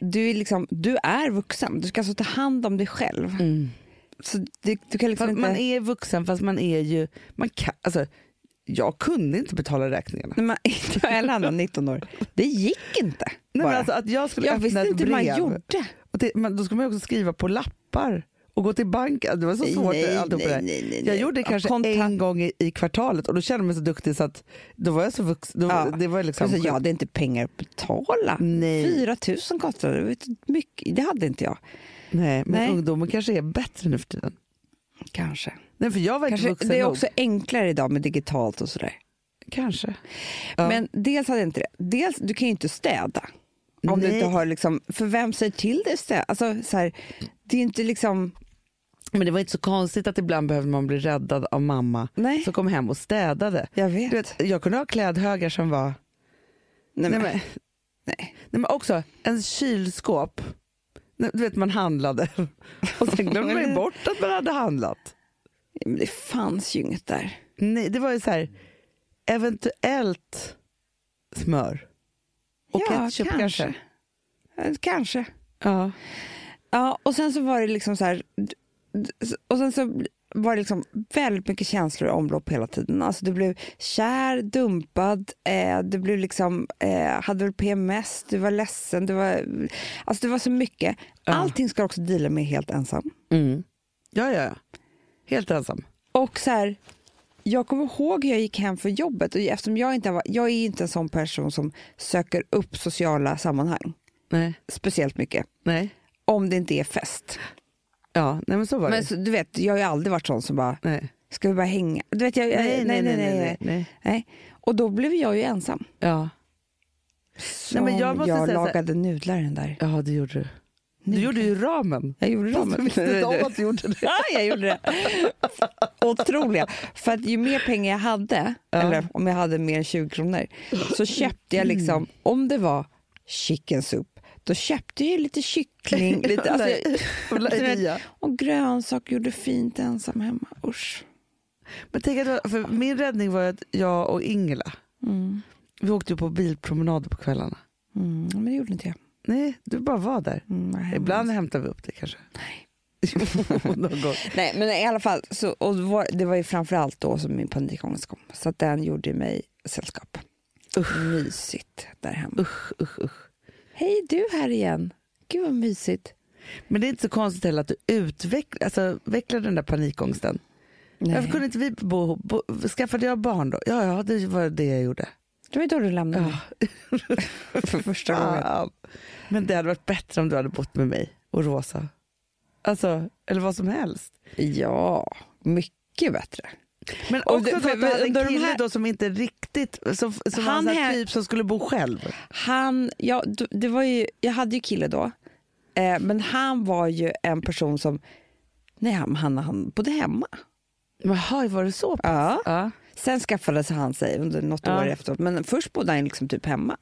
Speaker 1: Du är, liksom, du är vuxen, du ska alltså ta hand om dig själv. Så du, du kan liksom
Speaker 2: Fast
Speaker 1: inte...
Speaker 2: Mm. man är vuxen fast man är ju, man kan, alltså, jag kunde inte betala räkningarna.
Speaker 1: Nej, man, inte jag heller, Hanna, 19 år. Det gick inte.
Speaker 2: Nej, men
Speaker 1: bara.
Speaker 2: alltså, att jag skulle
Speaker 1: jag
Speaker 2: öppna
Speaker 1: visste
Speaker 2: ett
Speaker 1: inte hur
Speaker 2: brev.
Speaker 1: man gjorde.
Speaker 2: Och det, men då skulle man ju också skriva på lappar och gå till banken. Det var så svårt.
Speaker 1: Nej,
Speaker 2: allt
Speaker 1: nej,
Speaker 2: det där.
Speaker 1: nej, nej,
Speaker 2: jag
Speaker 1: nej.
Speaker 2: gjorde det
Speaker 1: Ja,
Speaker 2: kanske
Speaker 1: kontakt-
Speaker 2: en gång i, i kvartalet och då kände jag mig så duktig så att då var jag så vuxen. Då,
Speaker 1: Ja.
Speaker 2: Det var liksom
Speaker 1: jag, sa, jag hade inte pengar att betala.
Speaker 2: Nej.
Speaker 1: 4 000 kostade det. det. var inte Mycket. Det hade inte jag.
Speaker 2: Nej, men
Speaker 1: Nej.
Speaker 2: ungdomen kanske är bättre nu för tiden.
Speaker 1: Kanske.
Speaker 2: Nej, för jag var inte
Speaker 1: Kanske
Speaker 2: vuxen
Speaker 1: det är
Speaker 2: nog.
Speaker 1: också enklare idag med digitalt och sådär.
Speaker 2: Kanske.
Speaker 1: Men dels hade jag inte det. Dels, du kan ju inte städa. Om du
Speaker 2: Nej.
Speaker 1: inte har liksom, för vem säger till dig städa? Alltså, så här, det är inte liksom...
Speaker 2: Men det var inte så konstigt att ibland behövde man bli räddad av mamma
Speaker 1: Nej.
Speaker 2: som kom hem och städade.
Speaker 1: Jag vet.
Speaker 2: Du vet, jag kunde ha klädhögar som var...
Speaker 1: Nej, men,
Speaker 2: Nej, men,
Speaker 1: nej.
Speaker 2: Nej, men också en kylskåp. Nej, Du vet man handlade och sen glömde man ju bort att man hade handlat.
Speaker 1: Men det fanns ju inget där.
Speaker 2: Nej, det var ju så här eventuellt smör och ketchup kanske.
Speaker 1: Eh, Kanske.
Speaker 2: Ja.
Speaker 1: Ja, och sen så var det liksom så här... d- d- Och sen så var det liksom väldigt mycket känslor i omlopp hela tiden. Alltså du blev kär, dumpad, eh, du blev liksom, eh, hade väl PMS, du var ledsen, du var, alltså det var så mycket. Allting ska du också deala med helt ensam.
Speaker 2: Mm. ja, ja, ja. Helt ensam.
Speaker 1: Och så här, jag kommer ihåg hur jag gick hem från jobbet och eftersom jag inte var, jag är inte en sån person som söker upp sociala sammanhang
Speaker 2: Nej,
Speaker 1: speciellt mycket.
Speaker 2: nej.
Speaker 1: Om det inte är fest.
Speaker 2: Ja, nej men så var
Speaker 1: Men
Speaker 2: det.
Speaker 1: så, du vet, jag har ju aldrig varit sån som bara,
Speaker 2: Nej.
Speaker 1: Ska vi bara hänga? Du vet, jag, jag, nej, nej, nej, nej, nej,
Speaker 2: nej.
Speaker 1: Och då blev jag ju ensam.
Speaker 2: Ja.
Speaker 1: Nej, men jag
Speaker 2: måste
Speaker 1: jag
Speaker 2: säga så här-
Speaker 1: lagade nudlar den där.
Speaker 2: ja, det gjorde du. Du gjorde ju ramen.
Speaker 1: Jag gjorde
Speaker 2: Fast du
Speaker 1: ramen.
Speaker 2: visste inte om att du gjorde det.
Speaker 1: Ja, jag gjorde det. Otroliga. För att ju mer pengar jag hade, eller om jag hade mer än 20 kronor, så köpte jag liksom, om det var chicken soup, då köpte jag ju lite kyckling lite, alltså,
Speaker 2: Och
Speaker 1: du vet,
Speaker 2: Lahja.
Speaker 1: och grönsak gjorde fint ensam hemma. Usch.
Speaker 2: Men tänk att, det var- för min räddning var ju att jag och Ingela, vi åkte ju på bilpromenader på kvällarna.
Speaker 1: Mm, men det gjorde inte jag.
Speaker 2: Nej, du bara var där.
Speaker 1: Mm, nej,
Speaker 2: Ibland hämtar vi upp det kanske. Nej. Någon gång.
Speaker 1: Nej, men i alla fall, så, och det, var, det var ju framförallt då som min panikångest kom. Så att den gjorde mig sällskap. Mysigt där hemma.
Speaker 2: Usch, usch, usch.
Speaker 1: Hej, du här igen. Gud vad mysigt.
Speaker 2: Men det är inte så konstigt heller att du utvecklar alltså, vecklar den där panikångesten. Varför kunde inte vi bo ihop? Bo, skaffade jag barn då? Ja, ja, det var det jag gjorde.
Speaker 1: Det var ju då du lämnade mig. För första gången.
Speaker 2: Fan. Men det hade varit bättre om du hade bott med mig och Rosa. Alltså, eller vad som helst.
Speaker 1: Ja, mycket bättre.
Speaker 2: Men
Speaker 1: Och
Speaker 2: också
Speaker 1: det-
Speaker 2: då
Speaker 1: för-
Speaker 2: att du hade en
Speaker 1: under de
Speaker 2: kille
Speaker 1: här-
Speaker 2: då som inte riktigt, som, som
Speaker 1: Han
Speaker 2: han var en sån här
Speaker 1: här-
Speaker 2: typ som skulle bo själv.
Speaker 1: Han, ja, d- det var ju, jag hade ju kille då, eh, men han var ju en person som, nej han, han, han bodde hemma.
Speaker 2: Jaha, var det så? pass?
Speaker 1: Ja.
Speaker 2: Ja.
Speaker 1: Sen skaffade han sig under något
Speaker 2: Ja.
Speaker 1: år efteråt, men först bodde han liksom typ hemma.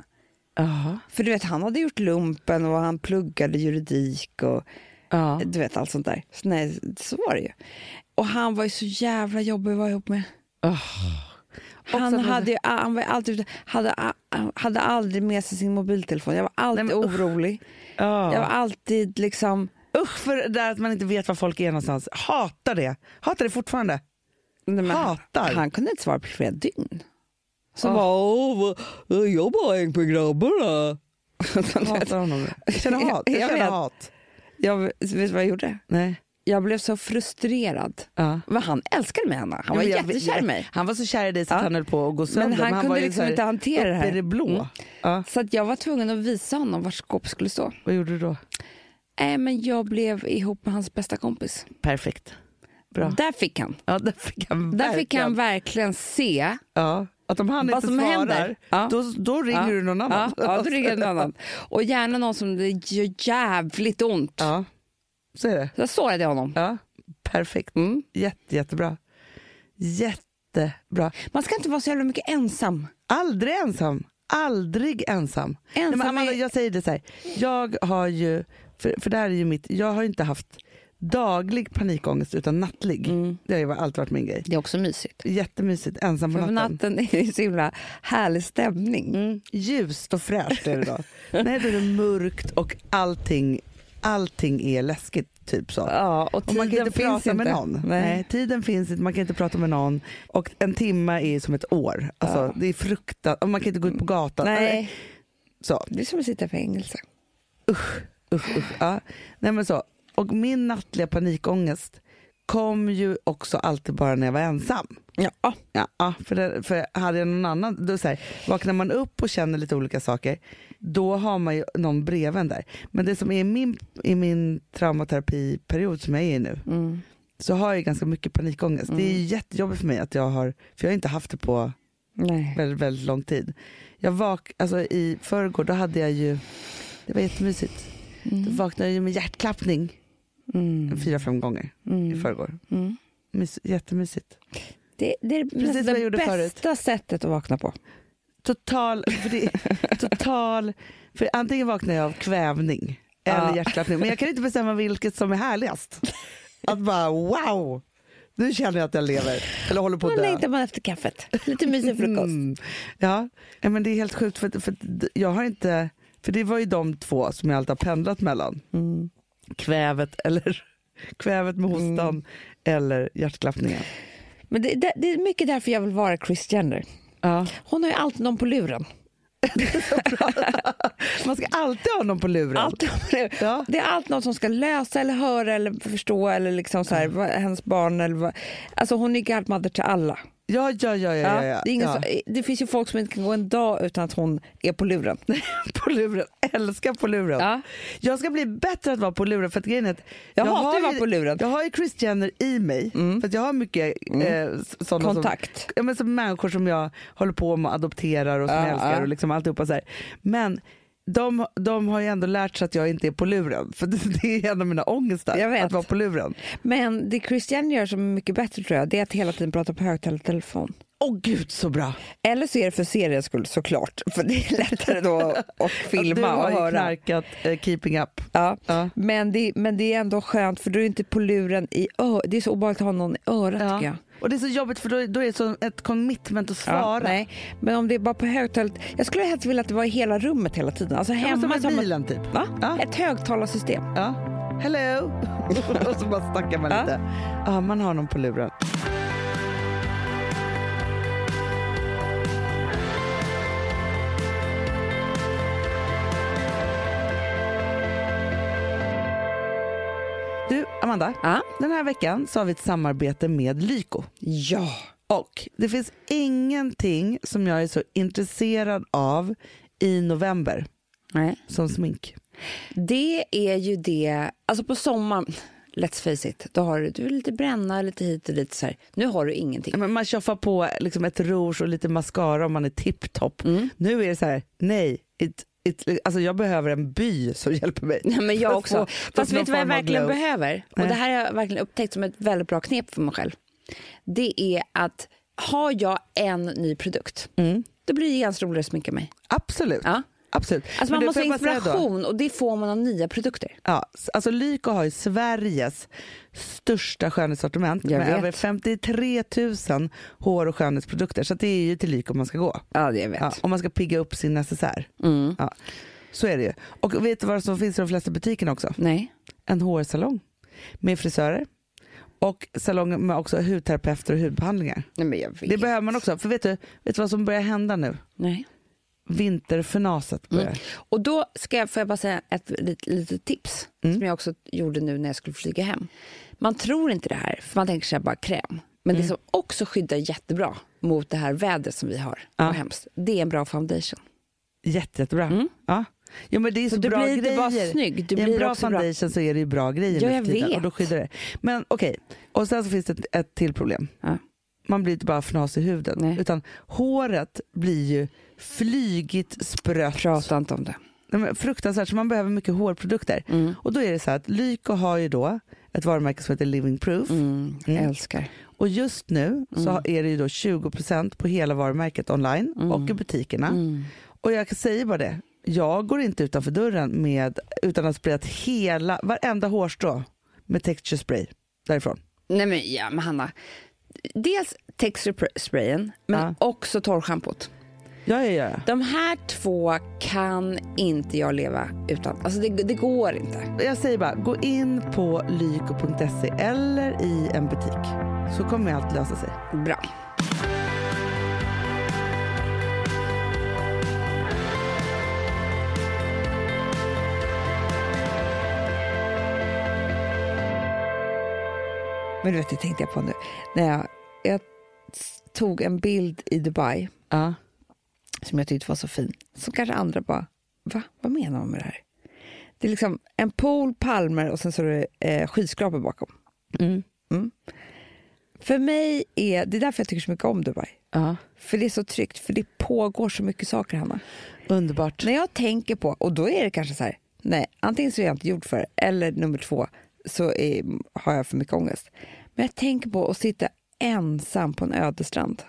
Speaker 2: Jaha.
Speaker 1: För du vet, han hade gjort lumpen och han pluggade juridik och
Speaker 2: Ja.
Speaker 1: du vet allt sånt där. Så, nej, så var det ju. Och han var ju så jävla jobbig att vara ihop med. Han,
Speaker 2: Också-
Speaker 1: hade, ju, han var ju alltid, ute- hade, hade aldrig med sig sin mobiltelefon. Jag var alltid
Speaker 2: Nej, men usch.
Speaker 1: orolig.
Speaker 2: Ja.
Speaker 1: Jag var alltid liksom...
Speaker 2: Usch för det där att man inte vet var folk är någonstans. Hatar det. Hatar det fortfarande.
Speaker 1: Nej, men han-
Speaker 2: Hatar.
Speaker 1: Han kunde inte svara på flera dygn.
Speaker 2: Ah.
Speaker 1: Så bara, "Åh, vad- jag bara häng på grabbarna.
Speaker 2: Hatar honom. Jag känner hat. Jag,
Speaker 1: Jag
Speaker 2: känner
Speaker 1: vet.
Speaker 2: hat.
Speaker 1: jag, vet du vad jag gjorde?
Speaker 2: Nej.
Speaker 1: Jag blev så frustrerad.
Speaker 2: Ja.
Speaker 1: Men han älskade mig, Hanna. Han var
Speaker 2: Jo, men jag-
Speaker 1: jättekär i mig.
Speaker 2: Han var så kär i dig så att
Speaker 1: Ja.
Speaker 2: han höll på att gå sönder.
Speaker 1: Men han kunde
Speaker 2: var ju
Speaker 1: liksom
Speaker 2: så här
Speaker 1: inte hantera det här.
Speaker 2: Uppe i det blå.
Speaker 1: Mm.
Speaker 2: Ja.
Speaker 1: Så att jag var tvungen att visa honom var skåp skulle stå.
Speaker 2: Vad gjorde du då?
Speaker 1: Nej, men jag blev ihop med hans bästa kompis.
Speaker 2: Perfekt. Bra.
Speaker 1: Där fick han.
Speaker 2: Ja, där fick han
Speaker 1: Där fick han
Speaker 2: verkligen-
Speaker 1: verkligen se
Speaker 2: Ja. Att om han
Speaker 1: vad
Speaker 2: inte
Speaker 1: som
Speaker 2: svarar,
Speaker 1: händer. Ja.
Speaker 2: då, då ringer
Speaker 1: Ja.
Speaker 2: du någon annan.
Speaker 1: Ja, ja då ringer jag någon annan. Och gärna någon som det gör jävligt ont.
Speaker 2: Ja. Så är det.
Speaker 1: Så jag sårade jag honom.
Speaker 2: Ja. Perfekt.
Speaker 1: Mm.
Speaker 2: Jätte, jättebra. Jättebra.
Speaker 1: Man ska inte vara så jävla mycket ensam.
Speaker 2: Aldrig ensam. Aldrig ensam.
Speaker 1: Ensam
Speaker 2: Nej, men Amanda,
Speaker 1: är-
Speaker 2: Jag säger det så här. Jag har ju, för, för det här är ju mitt, jag har ju inte haft daglig panikångest utan nattlig.
Speaker 1: Mm.
Speaker 2: Det har ju var- alltid varit min grej.
Speaker 1: Det är också mysigt.
Speaker 2: Jättemysigt, ensam på
Speaker 1: För på
Speaker 2: natten.
Speaker 1: natten är det så himla härlig stämning.
Speaker 2: Mm. Ljust och fräscht är det då. Nej, då är det mörkt och allting, allting är läskigt. Typ så.
Speaker 1: Ja, och
Speaker 2: Och man kan
Speaker 1: tiden
Speaker 2: inte
Speaker 1: finns
Speaker 2: prata med
Speaker 1: inte.
Speaker 2: någon.
Speaker 1: Nej.
Speaker 2: tiden finns inte, man kan inte prata med någon. Och en timme är som ett år. Alltså, Det är fruktansvärt. Och man kan inte gå ut på gatan.
Speaker 1: Nej,
Speaker 2: Så.
Speaker 1: det är som att sitta i fängelse.
Speaker 2: Usch, usch. Ja. Nej, men så. Och min nattliga panikångest kom ju också alltid bara när jag var ensam.
Speaker 1: Ja.
Speaker 2: Ja, ja, för, det, för hade jag någon annan, då så här, vaknar man upp och känner lite olika saker, då har man ju någon
Speaker 1: Mm.
Speaker 2: breven där. Men det som är i min, i min traumaterapiperiod som jag är i nu, så har jag ganska mycket panikångest. Det är ju jättejobbigt för mig att jag har, för jag har inte haft det på
Speaker 1: Nej.
Speaker 2: väldigt, väldigt lång tid. Jag vak, alltså i förrgår då hade jag ju, det var jättemysigt. Då vaknade jag ju med hjärtklappning
Speaker 1: Mm.
Speaker 2: fyra, fem gånger i
Speaker 1: Mm.
Speaker 2: förrgår.
Speaker 1: Mm.
Speaker 2: Mys, jättemysigt.
Speaker 1: Det, det är
Speaker 2: Precis vad jag
Speaker 1: det
Speaker 2: gjorde
Speaker 1: bästa sättet att vakna på.
Speaker 2: Total, för det, total, för antingen vaknar jag av kvävning eller
Speaker 1: Ja.
Speaker 2: hjärtklappning. Men jag kan inte bestämma vilket som är härligast. Att bara wow, nu känner jag att jag lever. Eller håller på
Speaker 1: Då
Speaker 2: att dö.
Speaker 1: längtar man efter kaffet. Lite mysig frukost.
Speaker 2: Mm. Ja. ja, men det är helt sjukt för, för d- jag har inte, för det var ju de två som jag alltid har pendlat mellan.
Speaker 1: Mm.
Speaker 2: Kvävet eller kvävet med hostan
Speaker 1: Mm.
Speaker 2: eller hjärtklappningen.
Speaker 1: Men det, det, det är mycket därför jag vill vara Chris Jenner.
Speaker 2: Ja.
Speaker 1: Hon har ju alltid någon på luren.
Speaker 2: Man ska alltid ha någon på luren.
Speaker 1: Alltid någon på luren.
Speaker 2: Ja.
Speaker 1: Det är alltid något som ska lösa eller höra eller förstå eller liksom så
Speaker 2: Mm.
Speaker 1: här, vad, hennes barn eller vad. Alltså hon är godmother till alla.
Speaker 2: Ja, ja, ja, ja, ja, ja.
Speaker 1: Det, är ingen
Speaker 2: ja.
Speaker 1: så, det finns ju folk som inte kan gå en dag utan att hon är på luren.
Speaker 2: på luren. Älskar på luren.
Speaker 1: Ja.
Speaker 2: Jag ska bli bättre att vara på luren för att grejen är att
Speaker 1: Jag hatar
Speaker 2: har
Speaker 1: att vara på luren. Mm.
Speaker 2: Jag har ju Chris Jenner i mig för att jag har mycket eh, sådana
Speaker 1: Kontakt.
Speaker 2: Som, ja, men som människor som jag håller på med och adopterar och som
Speaker 1: Ja,
Speaker 2: jag älskar
Speaker 1: ja.
Speaker 2: och liksom alltihopa så här. Men de, de har ju ändå lärt sig att jag inte är på luren för det, det är en av mina ångestar
Speaker 1: Jag vet.
Speaker 2: att vara på luren.
Speaker 1: Men det Chris Jenner gör som är mycket bättre tror jag, det är att hela tiden prata på högtalartelefon.
Speaker 2: Åh gud så bra!
Speaker 1: Eller så är det för seriens skull såklart, för det är lättare då att
Speaker 2: du
Speaker 1: filma
Speaker 2: har
Speaker 1: och
Speaker 2: ju
Speaker 1: höra.
Speaker 2: knarkat eh, keeping up.
Speaker 1: Ja.
Speaker 2: Ja.
Speaker 1: Men, det, men det är ändå skönt för du är inte på luren i örat. Det är så obehagligt att ha någon i örat tycker jag.
Speaker 2: Och det är så jobbigt för då, då är det så ett commitment att svara.
Speaker 1: Ja, nej. Men om det är bara på högtalet. Jag skulle helst vilja att det var i hela rummet hela tiden. Alltså
Speaker 2: Ja, men
Speaker 1: hemma. så
Speaker 2: som med
Speaker 1: har man-
Speaker 2: bilen typ.
Speaker 1: Va?
Speaker 2: Ja.
Speaker 1: Ett högtalarsystem.
Speaker 2: Ja. Hello! och så bara snackar man
Speaker 1: Ja.
Speaker 2: lite. Ja, man har någon på luren. Du, Amanda.
Speaker 1: Ja.
Speaker 2: Den här veckan så har vi ett samarbete med Lyko.
Speaker 1: Ja.
Speaker 2: Och det finns ingenting som jag är så intresserad av i november
Speaker 1: Nej.
Speaker 2: som smink.
Speaker 1: Det är ju det, alltså på sommaren, let's face it, då har du, du är lite bränna, lite hit och lite så här. Nu har du ingenting.
Speaker 2: Ja, Men man tjoffar på liksom ett rouge och lite mascara om man är tipptopp.
Speaker 1: Mm.
Speaker 2: Nu är det så här, nej, it, it, alltså jag behöver en by som hjälper mig.
Speaker 1: Nej, men
Speaker 2: För
Speaker 1: jag
Speaker 2: att
Speaker 1: också.
Speaker 2: få- för att
Speaker 1: Fast
Speaker 2: få
Speaker 1: vet du vad jag
Speaker 2: någon form av
Speaker 1: verkligen
Speaker 2: glow.
Speaker 1: behöver? Och
Speaker 2: Nej.
Speaker 1: det här har jag verkligen upptäckt som ett väldigt bra knep för mig själv. Det är att har jag en ny produkt,
Speaker 2: Mm.
Speaker 1: då blir det genast roligare att sminka mig.
Speaker 2: Absolut.
Speaker 1: Ja.
Speaker 2: Absolut.
Speaker 1: Alltså
Speaker 2: Men
Speaker 1: man
Speaker 2: du,
Speaker 1: måste
Speaker 2: får
Speaker 1: ha
Speaker 2: jag bara säga då?
Speaker 1: inspiration och det får man av nya produkter.
Speaker 2: Ja, s- alltså Lyko har ju Sveriges största skönhetssortiment
Speaker 1: Jag
Speaker 2: med
Speaker 1: vet.
Speaker 2: över 53 000 hår och skönhetsprodukter. Så att det är ju till Lyko man ska gå.
Speaker 1: Ja, det vet. Mm.
Speaker 2: Ja, om man ska pigga upp sin necessär. Ja, så är det ju. Och vet du vad som finns i de flesta butikerna också?
Speaker 1: Nej.
Speaker 2: en HR-salong med frisörer och salonger med också hudterapeuter och hudbehandlingar.
Speaker 1: Nej, men jag vet.
Speaker 2: Det behöver man också, för vet du, vet du vad som börjar hända nu?
Speaker 1: Nej.
Speaker 2: Vinterförnaset börjar.
Speaker 1: Och då ska jag, får jag bara säga ett litet, litet tips som jag också gjorde nu när jag skulle flyga hem. Man tror inte det här, för man tänker sig bara kräm. Men det som också skyddar jättebra mot det här vädret som vi har, och hemskt, det är en bra foundation.
Speaker 2: Jätte, jättebra. Ja. Jo, men det är så,
Speaker 1: du
Speaker 2: bra
Speaker 1: Mm. blir inte
Speaker 2: grejer.
Speaker 1: bara snygg, du
Speaker 2: I en
Speaker 1: blir
Speaker 2: bra
Speaker 1: också bra.
Speaker 2: foundation så är det ju bra grejer
Speaker 1: Ja,
Speaker 2: nu
Speaker 1: jag
Speaker 2: för tiden,
Speaker 1: vet.
Speaker 2: och då skyddar det. Men okej, och sen så finns det ett, ett till problem.
Speaker 1: Ja.
Speaker 2: Man blir inte bara fnas i huden
Speaker 1: Nej.
Speaker 2: utan håret blir ju flygigt sprött.
Speaker 1: Prata inte om det.
Speaker 2: Nej, men fruktansvärt, så man behöver mycket hårprodukter. Och då är det så här att Lyko har ju då ett varumärke som heter Living Proof.
Speaker 1: Mm, Jag älskar.
Speaker 2: Och just nu så är det ju då 20% på hela varumärket online och i butikerna.
Speaker 1: Mm.
Speaker 2: Och jag säger bara det, jag går inte utanför dörren med, utan att ha sprayat hela, varenda hårstrå med texture spray därifrån.
Speaker 1: Nej men, ja, men Hanna, dels texturesprayen, men
Speaker 2: Ja.
Speaker 1: också torrschampot.
Speaker 2: Ja, ja, ja.
Speaker 1: De här två kan inte jag leva utan. Alltså det, det går inte.
Speaker 2: Jag säger bara, gå in på lyko.se eller i en butik så kommer allt lösa sig.
Speaker 1: Bra. Men du vet, det tänkte jag på nu. När jag, jag tog en bild i Dubai
Speaker 2: Ja.
Speaker 1: som jag tyckte var så fin. Som kanske andra bara, va? Vad menar man med det här? Det är liksom en pool, palmer och sen så är det eh, skyskrapor bakom. För mig är, det är därför jag tycker så mycket om Dubai.
Speaker 2: Ja.
Speaker 1: För det är så tryggt, för det pågår så mycket saker Hanna.
Speaker 2: Underbart.
Speaker 1: När jag tänker på, och då är det kanske så här, nej, antingen så är jag inte gjord för det, eller nummer två, så är, har jag för mycket ångest. Men jag tänker på att sitta ensam på en ödestrand.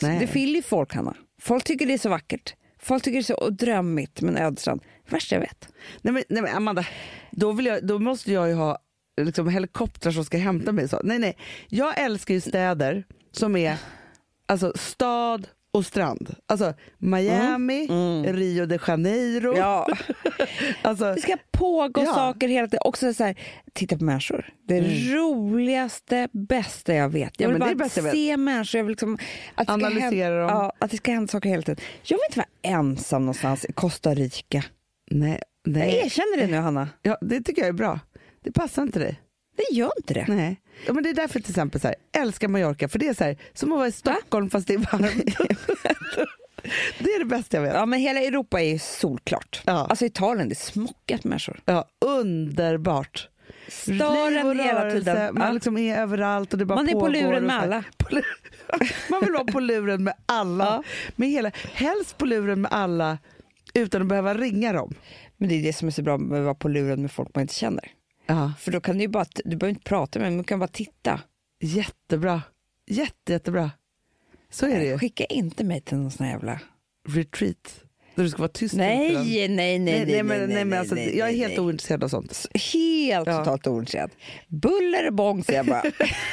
Speaker 1: Så
Speaker 2: Nej.
Speaker 1: Det fyller ju folk, Hanna. Folk tycker det är så vackert. Folk tycker det är så drömmigt med en ödestrand. Det värsta jag vet.
Speaker 2: Nej men, nej, men Amanda, då, vill jag, då måste jag ju ha liksom, helikoptrar som ska hämta mig. Så. Nej, nej. Jag älskar ju städer som är alltså, stad och strand. Alltså Miami, Rio de Janeiro.
Speaker 1: Mm. Ja.
Speaker 2: Alltså,
Speaker 1: Det ska pågå
Speaker 2: Ja.
Speaker 1: saker hela tiden. Också så här, titta på människor. Det roligaste, bästa jag vet. Jag
Speaker 2: Mm.
Speaker 1: vill
Speaker 2: Ja, men det är
Speaker 1: bara
Speaker 2: bästa jag vet.
Speaker 1: se människor. Jag vill liksom, att det ska
Speaker 2: Analysera
Speaker 1: hända,
Speaker 2: dem.
Speaker 1: Ja, att det ska hända saker hela tiden. Jag vill inte vara ensam någonstans i Costa Rica.
Speaker 2: nej,
Speaker 1: Jag
Speaker 2: nej.
Speaker 1: erkänner det nu, Hanna.
Speaker 2: Ja, det tycker jag är bra. Det passar inte dig.
Speaker 1: Det gör inte det.
Speaker 2: Nej. Ja, men det är därför till exempel så här, älskar Mallorca, för det är så här, som att vara i Stockholm fast det är varmt. det är det bästa jag vet.
Speaker 1: Ja, men hela Europa är ju solklart.
Speaker 2: Ja.
Speaker 1: Alltså Italien, det är smockat med människor.
Speaker 2: Ja, underbart. Liv och
Speaker 1: Staden hela
Speaker 2: rörelse,
Speaker 1: tiden.
Speaker 2: Man
Speaker 1: Ja.
Speaker 2: liksom är överallt och det bara
Speaker 1: Man är på
Speaker 2: pågår
Speaker 1: luren
Speaker 2: och så
Speaker 1: med
Speaker 2: här.
Speaker 1: alla.
Speaker 2: På lu- Man vill vara på luren med alla. Med hela, helst på luren med alla utan att behöva ringa dem.
Speaker 1: Men det är det som är så bra med att vara på luren med folk man inte känner.
Speaker 2: Ja.
Speaker 1: För då kan du ju bara, du behöver inte prata med dem, du kan bara titta.
Speaker 2: Jättebra. Jätte, jättebra. Så är det ju.
Speaker 1: Skicka inte mig till någon sån här jävla...
Speaker 2: Retreat. Där du ska vara tyst.
Speaker 1: Nej,
Speaker 2: hela tiden.
Speaker 1: nej, nej, nej,
Speaker 2: Nej, nej, men- nej, men alltså,
Speaker 1: nej,
Speaker 2: jag är
Speaker 1: nej,
Speaker 2: helt
Speaker 1: nej.
Speaker 2: ointresserad av sånt.
Speaker 1: Helt
Speaker 2: Ja.
Speaker 1: totalt ointresserad. Buller och bång, säger jag bara.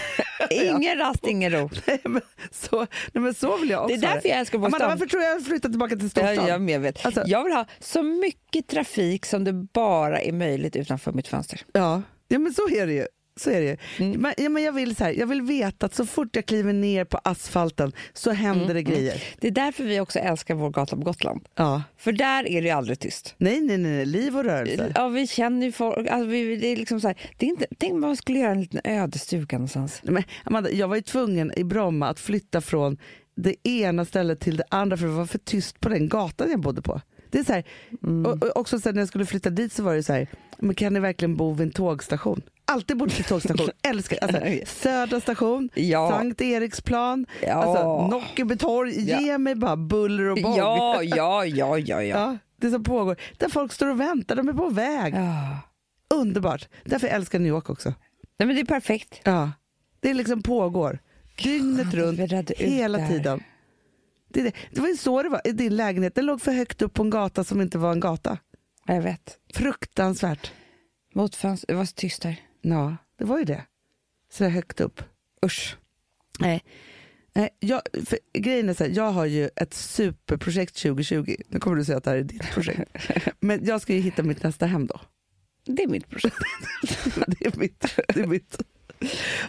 Speaker 1: ingen rast, ingen ro.
Speaker 2: Nej, men så, nej, men så vill jag
Speaker 1: Det
Speaker 2: också
Speaker 1: är
Speaker 2: ha
Speaker 1: därför jag älskar att bo i
Speaker 2: Amanda,
Speaker 1: stan.
Speaker 2: varför tror jag jag flyttar tillbaka till
Speaker 1: Jag,
Speaker 2: storstad?
Speaker 1: jag är medveten.
Speaker 2: Alltså-
Speaker 1: jag vill ha så mycket trafik som det bara är möjligt utanför mitt fönster.
Speaker 2: Ja, ja men så är det ju. Så är det ju.
Speaker 1: Mm.
Speaker 2: Men, ja, men jag, vill så här, jag vill veta att så fort jag kliver ner på asfalten så händer
Speaker 1: Mm,
Speaker 2: det grejer.
Speaker 1: Det är därför vi också älskar vår gata på Gotland.
Speaker 2: Ja.
Speaker 1: För där är det ju aldrig tyst.
Speaker 2: Nej, nej, nej, nej, liv och rörelse.
Speaker 1: Ja, vi känner ju folk. Alltså, vi, det är liksom så här, det är inte, tänk om man skulle göra en liten ödestuga någonstans.
Speaker 2: Nej, Men Amanda, jag var ju tvungen i Bromma att flytta från det ena stället till det andra för det var för tyst på den gatan jag bodde på. Det är så här,
Speaker 1: Mm.
Speaker 2: och, och också så här, när jag skulle flytta dit så var det så här, men kan ni verkligen bo vid en tågstation? Alltid bott vid tågstation, älskar alltså, Södra station,
Speaker 1: Ja.
Speaker 2: Sankt Eriksplan,
Speaker 1: Ja.
Speaker 2: alltså, Nockebytorg, ge mig bara buller och bång.
Speaker 1: Ja, ja, ja, ja, ja.
Speaker 2: Ja, det som pågår. Där folk står och väntar, de är på väg.
Speaker 1: ja.
Speaker 2: Underbart. Därför älskar jag New York också.
Speaker 1: Nej, men det är perfekt.
Speaker 2: Ja. Det liksom pågår. Dygnet
Speaker 1: vi
Speaker 2: runt,
Speaker 1: redde ut
Speaker 2: hela
Speaker 1: det här.
Speaker 2: tiden. Det, är det. det var ju så det var i din lägenhet. Den låg för högt upp på en gata som inte var en gata.
Speaker 1: Ja, jag vet.
Speaker 2: Fruktansvärt.
Speaker 1: Mot fönster. Det var så tyst där.
Speaker 2: Ja, det var ju det. Så där högt upp.
Speaker 1: Usch.
Speaker 2: Nej. Nej, jag, för, grejen är så här, jag har ju ett superprojekt 2020. Nu kommer du säga att det här är ditt projekt. Men jag ska ju hitta mitt nästa hem då.
Speaker 1: Det är mitt projekt.
Speaker 2: det är mitt. Det är, mitt.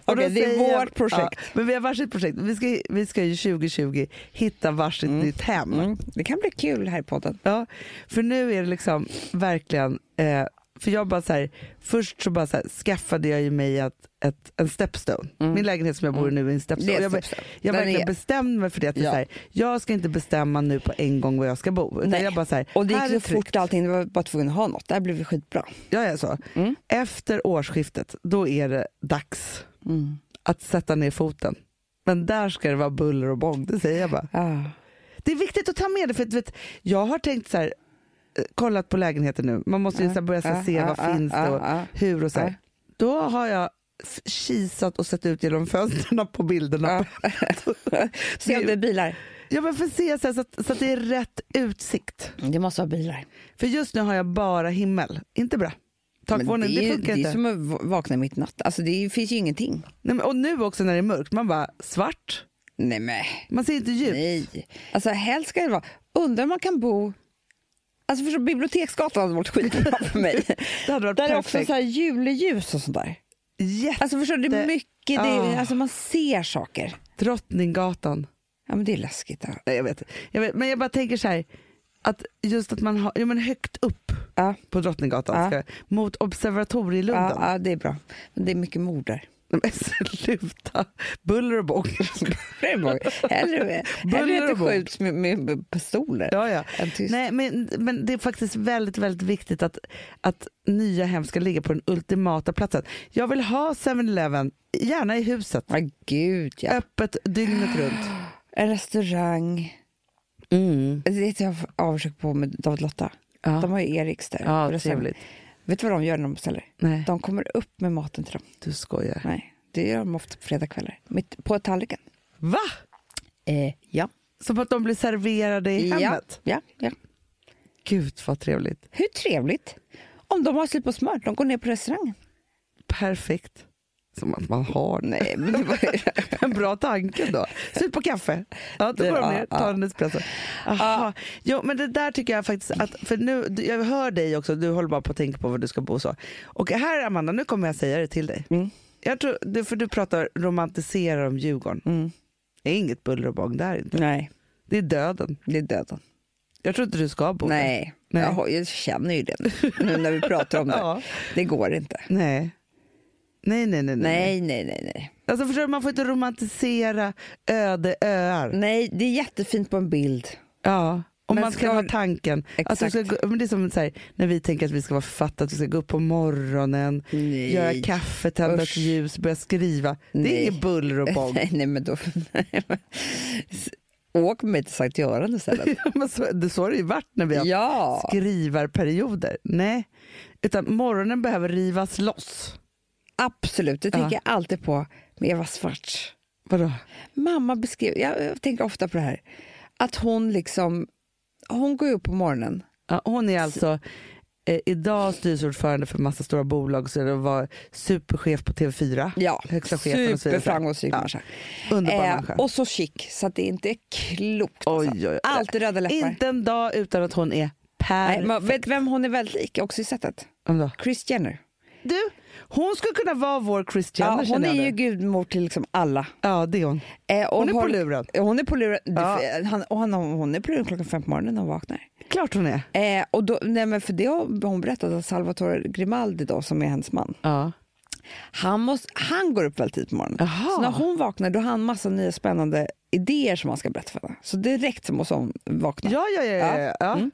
Speaker 2: Och då
Speaker 1: Okej, det är
Speaker 2: säger jag-
Speaker 1: vårt projekt.
Speaker 2: Ja, men vi har varsitt projekt. Vi ska, vi ska ju 2020 hitta varsitt nytt hem.
Speaker 1: Mm. Det kan bli kul här i podden.
Speaker 2: Ja, för nu är det liksom verkligen, eh, för jag bara så här, först så bara så här, skaffade jag ju mig ett, ett, en stepstone. Min lägenhet som jag bor i nu är en
Speaker 1: Mm. Det
Speaker 2: stepstone.
Speaker 1: är en
Speaker 2: jag, be-
Speaker 1: stepstone.
Speaker 2: jag
Speaker 1: Den
Speaker 2: verkligen
Speaker 1: är-
Speaker 2: bestämde mig för det. Att det är
Speaker 1: Ja.
Speaker 2: så här, jag ska inte bestämma nu på en gång var jag ska bo. Utan
Speaker 1: Nej.
Speaker 2: jag bara så här,
Speaker 1: Och det
Speaker 2: här är
Speaker 1: gick så
Speaker 2: tryggt.
Speaker 1: fort allting. Det var bara tvungen att ha något. Det här blev skitbra.
Speaker 2: Jag är så.
Speaker 1: Mm.
Speaker 2: Efter årsskiftet, då är det dags
Speaker 1: Mm.
Speaker 2: att sätta ner foten. Men där ska det vara buller och bång, det säger jag bara.
Speaker 1: Ah.
Speaker 2: Det är viktigt att ta med det, för att, du vet, jag har tänkt så här, eh, kollat på lägenheter nu, man måste ju så här, börja så här,
Speaker 1: ja,
Speaker 2: se
Speaker 1: ja,
Speaker 2: vad
Speaker 1: ja,
Speaker 2: finns det
Speaker 1: ja,
Speaker 2: och
Speaker 1: ja.
Speaker 2: hur och så här.
Speaker 1: Ja.
Speaker 2: Då har jag f- kisat och sett ut genom fönstren på
Speaker 1: Ah.
Speaker 2: bilderna.
Speaker 1: Se om det är bilar.
Speaker 2: Ja, men för att se så, här, så, att, så att det är rätt utsikt.
Speaker 1: Det måste vara bilar.
Speaker 2: För just nu har jag bara himmel, inte bra.
Speaker 1: Men det,
Speaker 2: Takvåningen, det,
Speaker 1: är, ju-
Speaker 2: funkar
Speaker 1: det
Speaker 2: inte.
Speaker 1: är som att va- vakna mitt i natt. Alltså, det är- finns ju ingenting.
Speaker 2: Nej, men, och nu också när det är mörkt, man bara svart.
Speaker 1: Nej, men.
Speaker 2: Man ser inte djupt.
Speaker 1: Nej. Alltså, helst ska det vara. Undrar om man kan bo... Alltså, förstå, Biblioteksgatan hade varit skitbra för mig.
Speaker 2: Det hade varit
Speaker 1: Där är också
Speaker 2: perfekt.
Speaker 1: så här juleljus och sånt där.
Speaker 2: Jätte-
Speaker 1: Alltså, förstår du, det är
Speaker 2: Det-
Speaker 1: mycket. Det är,
Speaker 2: Ah.
Speaker 1: alltså, man ser saker.
Speaker 2: Drottninggatan.
Speaker 1: Ja, men det är läskigt. Ja.
Speaker 2: Nej, jag, vet. jag vet. Men jag bara tänker så här, att just att man har, ja men högt upp
Speaker 1: Ja.
Speaker 2: på Drottninggatan,
Speaker 1: Ja.
Speaker 2: ska, mot observatorielunden.
Speaker 1: Ja, ja, det är bra. Men det är mycket mord där.
Speaker 2: Nej, men sluta. Buller och bång.
Speaker 1: Hellre, hellre
Speaker 2: Buller
Speaker 1: att
Speaker 2: och
Speaker 1: det
Speaker 2: bång.
Speaker 1: skjuts med, med pistoler
Speaker 2: Ja, ja.
Speaker 1: än tyst.
Speaker 2: Nej, men, men det är faktiskt väldigt, väldigt viktigt att, att nya hem ska ligga på den ultimata platsen. Jag vill ha 7-Eleven, gärna i huset.
Speaker 1: Ja, gud ja.
Speaker 2: Öppet dygnet runt.
Speaker 1: En restaurang.
Speaker 2: Mm.
Speaker 1: Det är ett jag har avundsjuk på med David Lotta.
Speaker 2: Ja.
Speaker 1: De har ju Eriks där.
Speaker 2: Ja,
Speaker 1: på restaurangen.
Speaker 2: trevligt.
Speaker 1: Vet du vad de gör när de beställer?
Speaker 2: Nej.
Speaker 1: De kommer upp med maten till dem.
Speaker 2: Du skojar.
Speaker 1: Nej, det gör de ofta på fredagskvällar. Mitt på tallriken.
Speaker 2: Va?
Speaker 1: Eh, ja.
Speaker 2: Som att de blir serverade i
Speaker 1: ja.
Speaker 2: hemmet?
Speaker 1: Ja, ja.
Speaker 2: Gud vad trevligt.
Speaker 1: Hur trevligt. Om de har slut på smör, de går ner på restaurangen.
Speaker 2: Perfekt. Som att man har
Speaker 1: Nej, men det var
Speaker 2: En bra tanke då. Slut på kaffe. Ja, då går de
Speaker 1: Ja,
Speaker 2: ner,
Speaker 1: ja.
Speaker 2: tar en espresso. Aha. Jo, men det där tycker jag faktiskt att, för nu, du- jag hör dig också, du håller bara på att tänka på var du ska bo och så. Och här Amanda, nu kommer jag säga det till dig.
Speaker 1: Mm.
Speaker 2: Jag tror, du- för du pratar, romantiserar om Djurgården.
Speaker 1: Mm.
Speaker 2: Det är inget buller och bång där inte.
Speaker 1: Nej,
Speaker 2: Det är döden.
Speaker 1: det är döden.
Speaker 2: Jag tror inte du ska bo där.
Speaker 1: Nej,
Speaker 2: Nej.
Speaker 1: Jag, har- jag känner ju det nu, nu när vi pratar om det.
Speaker 2: Ja.
Speaker 1: Det går inte.
Speaker 2: Nej. Nej, nej, nej. nej.
Speaker 1: Nej, nej, nej, nej.
Speaker 2: Alltså förstår du, man får inte romantisera öde öar.
Speaker 1: Nej, det är jättefint på en bild.
Speaker 2: Ja, och
Speaker 1: Men
Speaker 2: man ska,
Speaker 1: ska-
Speaker 2: ha tanken. Att du
Speaker 1: Exakt.
Speaker 2: ska gå, men det är som så här, när vi tänker att vi ska vara författare, att vi ska gå upp på morgonen,
Speaker 1: Nej.
Speaker 2: göra kaffe, tända ett
Speaker 1: Usch.
Speaker 2: ljus, börja skriva. Det är
Speaker 1: Nej.
Speaker 2: inget buller och bång.
Speaker 1: Nej, nej, men då... Nej, men, s- åk med till Sankt Göran istället.
Speaker 2: Ja, men så, det, så har det ju varit när vi har
Speaker 1: ja,
Speaker 2: skrivarperioder. Nej, utan morgonen behöver rivas loss.
Speaker 1: absolut. Det tänker jag alltid på med Eva Svarts.
Speaker 2: Vadå?
Speaker 1: Mamma beskrev, jag jag tänker ofta på det här, att hon liksom, hon går ju upp på morgonen.
Speaker 2: Ja, hon är alltså eh, idag styrelseordförande för massa stora bolag så det var superchef på TV4.
Speaker 1: Ja,
Speaker 2: högsta chefen och så vidare.
Speaker 1: superframgångsrik
Speaker 2: Ja,
Speaker 1: människa.
Speaker 2: Underbar människa.
Speaker 1: eh, och så chic, så att det inte är klokt.
Speaker 2: Oj,
Speaker 1: alltså.
Speaker 2: oj, oj.
Speaker 1: Alltid röda läppar.
Speaker 2: Inte en dag utan att hon är
Speaker 1: Nej,
Speaker 2: perfekt.
Speaker 1: men vet vem hon är väldigt lik också i sättet?
Speaker 2: Vem då?
Speaker 1: Kris Jenner.
Speaker 2: Du, hon skulle kunna vara vår Kris Jenner
Speaker 1: ja, hon
Speaker 2: känner jag
Speaker 1: är ju
Speaker 2: nu.
Speaker 1: gudmor till liksom alla.
Speaker 2: Ja, det är hon.
Speaker 1: Eh, och
Speaker 2: Hon är på luren.
Speaker 1: Ja, Hon är på luren.
Speaker 2: Ja.
Speaker 1: Det- Han, och han, hon är på luren klockan fem på morgonen när hon vaknar.
Speaker 2: Klart hon är.
Speaker 1: Eh, och då, nej, men för det har hon berättat att Salvatore Grimaldi då, som är hennes man,
Speaker 2: Ja.
Speaker 1: han, måste, han går upp väldigt tidigt på morgonen.
Speaker 2: Jaha.
Speaker 1: Så när hon vaknar då har han massa nya spännande idéer som han ska berätta för henne. Så direkt så måste hon vakna.
Speaker 2: Ja, ja, ja. ja, ja. ja.
Speaker 1: Mm.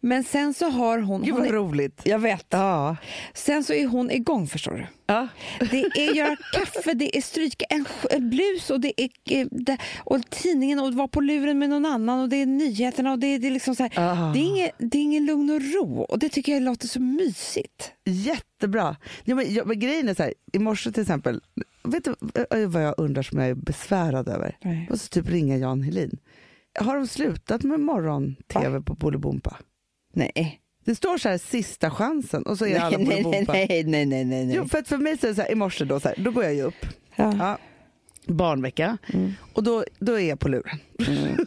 Speaker 1: Men sen så har hon...
Speaker 2: Gud
Speaker 1: hon
Speaker 2: vad
Speaker 1: är,
Speaker 2: roligt.
Speaker 1: jag vet.
Speaker 2: Ja.
Speaker 1: Sen så är hon igång förstår du.
Speaker 2: Ja.
Speaker 1: Det är göra kaffe, det är stryka en, sk- en blus och det är eh, det, och tidningen och vara på luren med någon annan och det är nyheterna och det är, det är liksom så här.
Speaker 2: Ah.
Speaker 1: Det, är inget, det är ingen lugn och ro och det tycker jag låter så mysigt.
Speaker 2: Jättebra. Ja, men, ja, men grejen är så här, i morse till exempel, vet du eh, vad jag undrar som jag är besvärad över?
Speaker 1: Nej.
Speaker 2: Och så typ ringa Jan Helin. Har de slutat med morgon-tv på Bolibompa?
Speaker 1: Nej,
Speaker 2: Det står så här sista chansen och så är alla
Speaker 1: nej, nej,
Speaker 2: Bolibompa.
Speaker 1: nej, nej, nej, nej, nej, nej.
Speaker 2: Jo, för, att för mig så är det så här, i morse då, så här, då går jag ju upp.
Speaker 1: Ja. Mm.
Speaker 2: Ja. Barnvecka. Och då, då är jag på luren.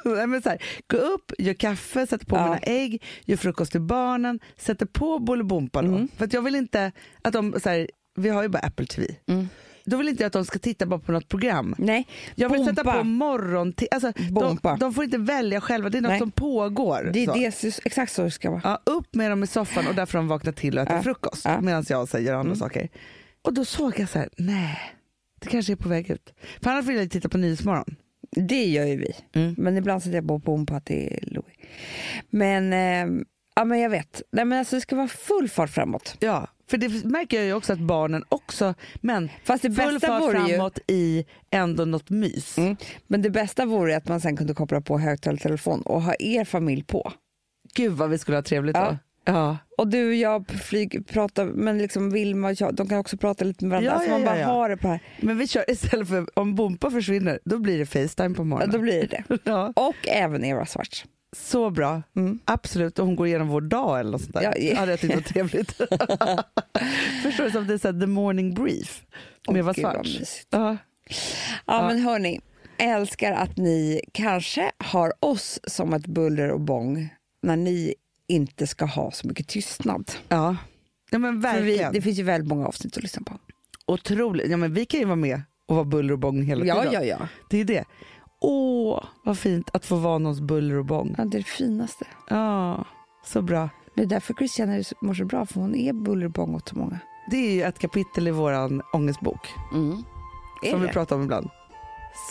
Speaker 2: Nej, men så här, gå upp, gör kaffe, sätter på
Speaker 1: Ja.
Speaker 2: mina ägg, gör frukost till barnen, sätter på Bolibompa då.
Speaker 1: Mm.
Speaker 2: För att jag vill inte att de, så här, vi har ju bara Apple TV.
Speaker 1: Mm.
Speaker 2: Då vill inte jag att de ska titta bara på något program.
Speaker 1: nej.
Speaker 2: Jag vill sätta
Speaker 1: Bompa.
Speaker 2: på morgon till, alltså, de,
Speaker 1: Bompa.
Speaker 2: de får inte välja själva, det är något
Speaker 1: Nej.
Speaker 2: som pågår.
Speaker 1: det,
Speaker 2: så.
Speaker 1: det är exakt så det ska vara.
Speaker 2: Ja, upp med dem i soffan och där får de vakna till och äta
Speaker 1: Ja.
Speaker 2: frukost
Speaker 1: Ja.
Speaker 2: medan jag så här, gör andra saker. Och då såg jag så här, nej, det kanske är på väg ut. För annars vill jag ju titta på Nyhetsmorgon.
Speaker 1: Det gör ju vi.
Speaker 2: Mm.
Speaker 1: Men ibland sätter jag på bom på att det är Louis. Men, eh, ja, men jag vet. Nej, men alltså, det ska vara full fart framåt.
Speaker 2: Ja, för det märker jag ju också att barnen också, men
Speaker 1: Fast det
Speaker 2: full
Speaker 1: bästa
Speaker 2: fart
Speaker 1: vore ju-
Speaker 2: framåt i ändå något mys.
Speaker 1: Mm. Men det bästa vore att man sen kunde koppla på högtalartelefon och ha er familj på.
Speaker 2: Gud vad vi skulle ha trevligt
Speaker 1: Ja.
Speaker 2: då. Ja.
Speaker 1: Och du och jag på flyg pratar, men liksom Vilma och jag, de kan också prata lite med varandra.
Speaker 2: Ja,
Speaker 1: så
Speaker 2: ja,
Speaker 1: man
Speaker 2: ja,
Speaker 1: bara
Speaker 2: ja.
Speaker 1: har det på här.
Speaker 2: Men vi kör istället för, om Bompa försvinner, då blir det Facetime på
Speaker 1: Ja,
Speaker 2: morgonen.
Speaker 1: då blir det det.
Speaker 2: Ja,
Speaker 1: Och även Eva Svarts.
Speaker 2: så bra. Absolut, och hon går igenom vår dag eller något sånt där.
Speaker 1: Mm. Ja, ja.
Speaker 2: Det hade jag tyckt var trevligt. Förstår du? Som det är så här, the morning brief
Speaker 1: Åh,
Speaker 2: med Eva
Speaker 1: gud, vad
Speaker 2: Svartz.
Speaker 1: mysigt.
Speaker 2: Ja.
Speaker 1: Ja, men hörni. Älskar att ni kanske har oss som ett buller och bång när ni inte ska ha så mycket tystnad.
Speaker 2: Ja. ja, men
Speaker 1: För vi,
Speaker 2: verkligen.
Speaker 1: det finns ju väldigt många avsnitt att lyssna på.
Speaker 2: Otroligt. Ja, men vi kan ju vara med och vara buller och bång hela
Speaker 1: Ja,
Speaker 2: tiden.
Speaker 1: ja, ja.
Speaker 2: Det är det. Åh, vad fint att få vara någons buller och bång.
Speaker 1: ja det är det finaste.
Speaker 2: Ja, så bra.
Speaker 1: Det är därför Christian mår så bra, för hon är buller och bång åt så många.
Speaker 2: Det är ju ett kapitel i vår ångestbok,
Speaker 1: Mm. Är
Speaker 2: som vi
Speaker 1: det?
Speaker 2: pratar om ibland.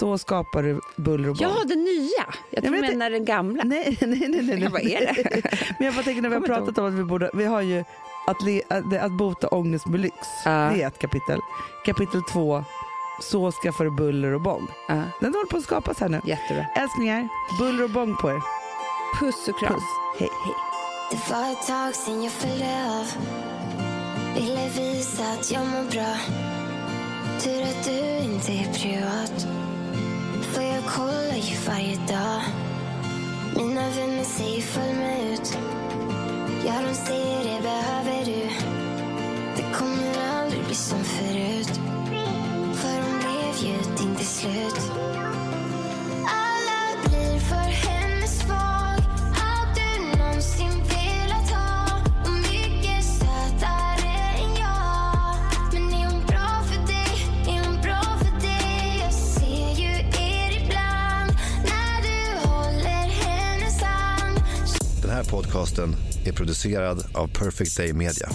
Speaker 2: Så skapar du buller och bång.
Speaker 1: Ja, den nya. Jag tror
Speaker 2: men
Speaker 1: du
Speaker 2: jag
Speaker 1: menar den gamla.
Speaker 2: Nej, nej, nej. nej, nej.
Speaker 1: Vad är det?
Speaker 2: Men jag bara tänker när vi har
Speaker 1: Kommer inte
Speaker 2: pratat om att vi borde, vi har ju att, le, att, det- att bota ångest med lyx.
Speaker 1: Ja.
Speaker 2: Det är ett kapitel. Kapitel två, så skaffar du buller och bång.
Speaker 1: Ja,
Speaker 2: Den håller på att skapas här nu.
Speaker 1: jättebra.
Speaker 2: Älsklingar, buller och bång på er.
Speaker 1: Puss och kram.
Speaker 2: Puss. Hej.
Speaker 9: Det var ett tag sen jag följde av Ville visa att jag mår bra Tur att du inte är privat För jag kollar ju varje dag Mina vänner säger följ mig ut Ja, de säger det behöver du Det kommer aldrig bli som förut För de blev ju din till slut alla blir för hennes svag Allt du någonsin velat ha Och mycket sötare än jag Men är hon bra för dig? Är hon bra för dig? Jag ser ju er ibland När du håller hennes hand
Speaker 10: Den här podcasten är producerad av Perfect Day Media.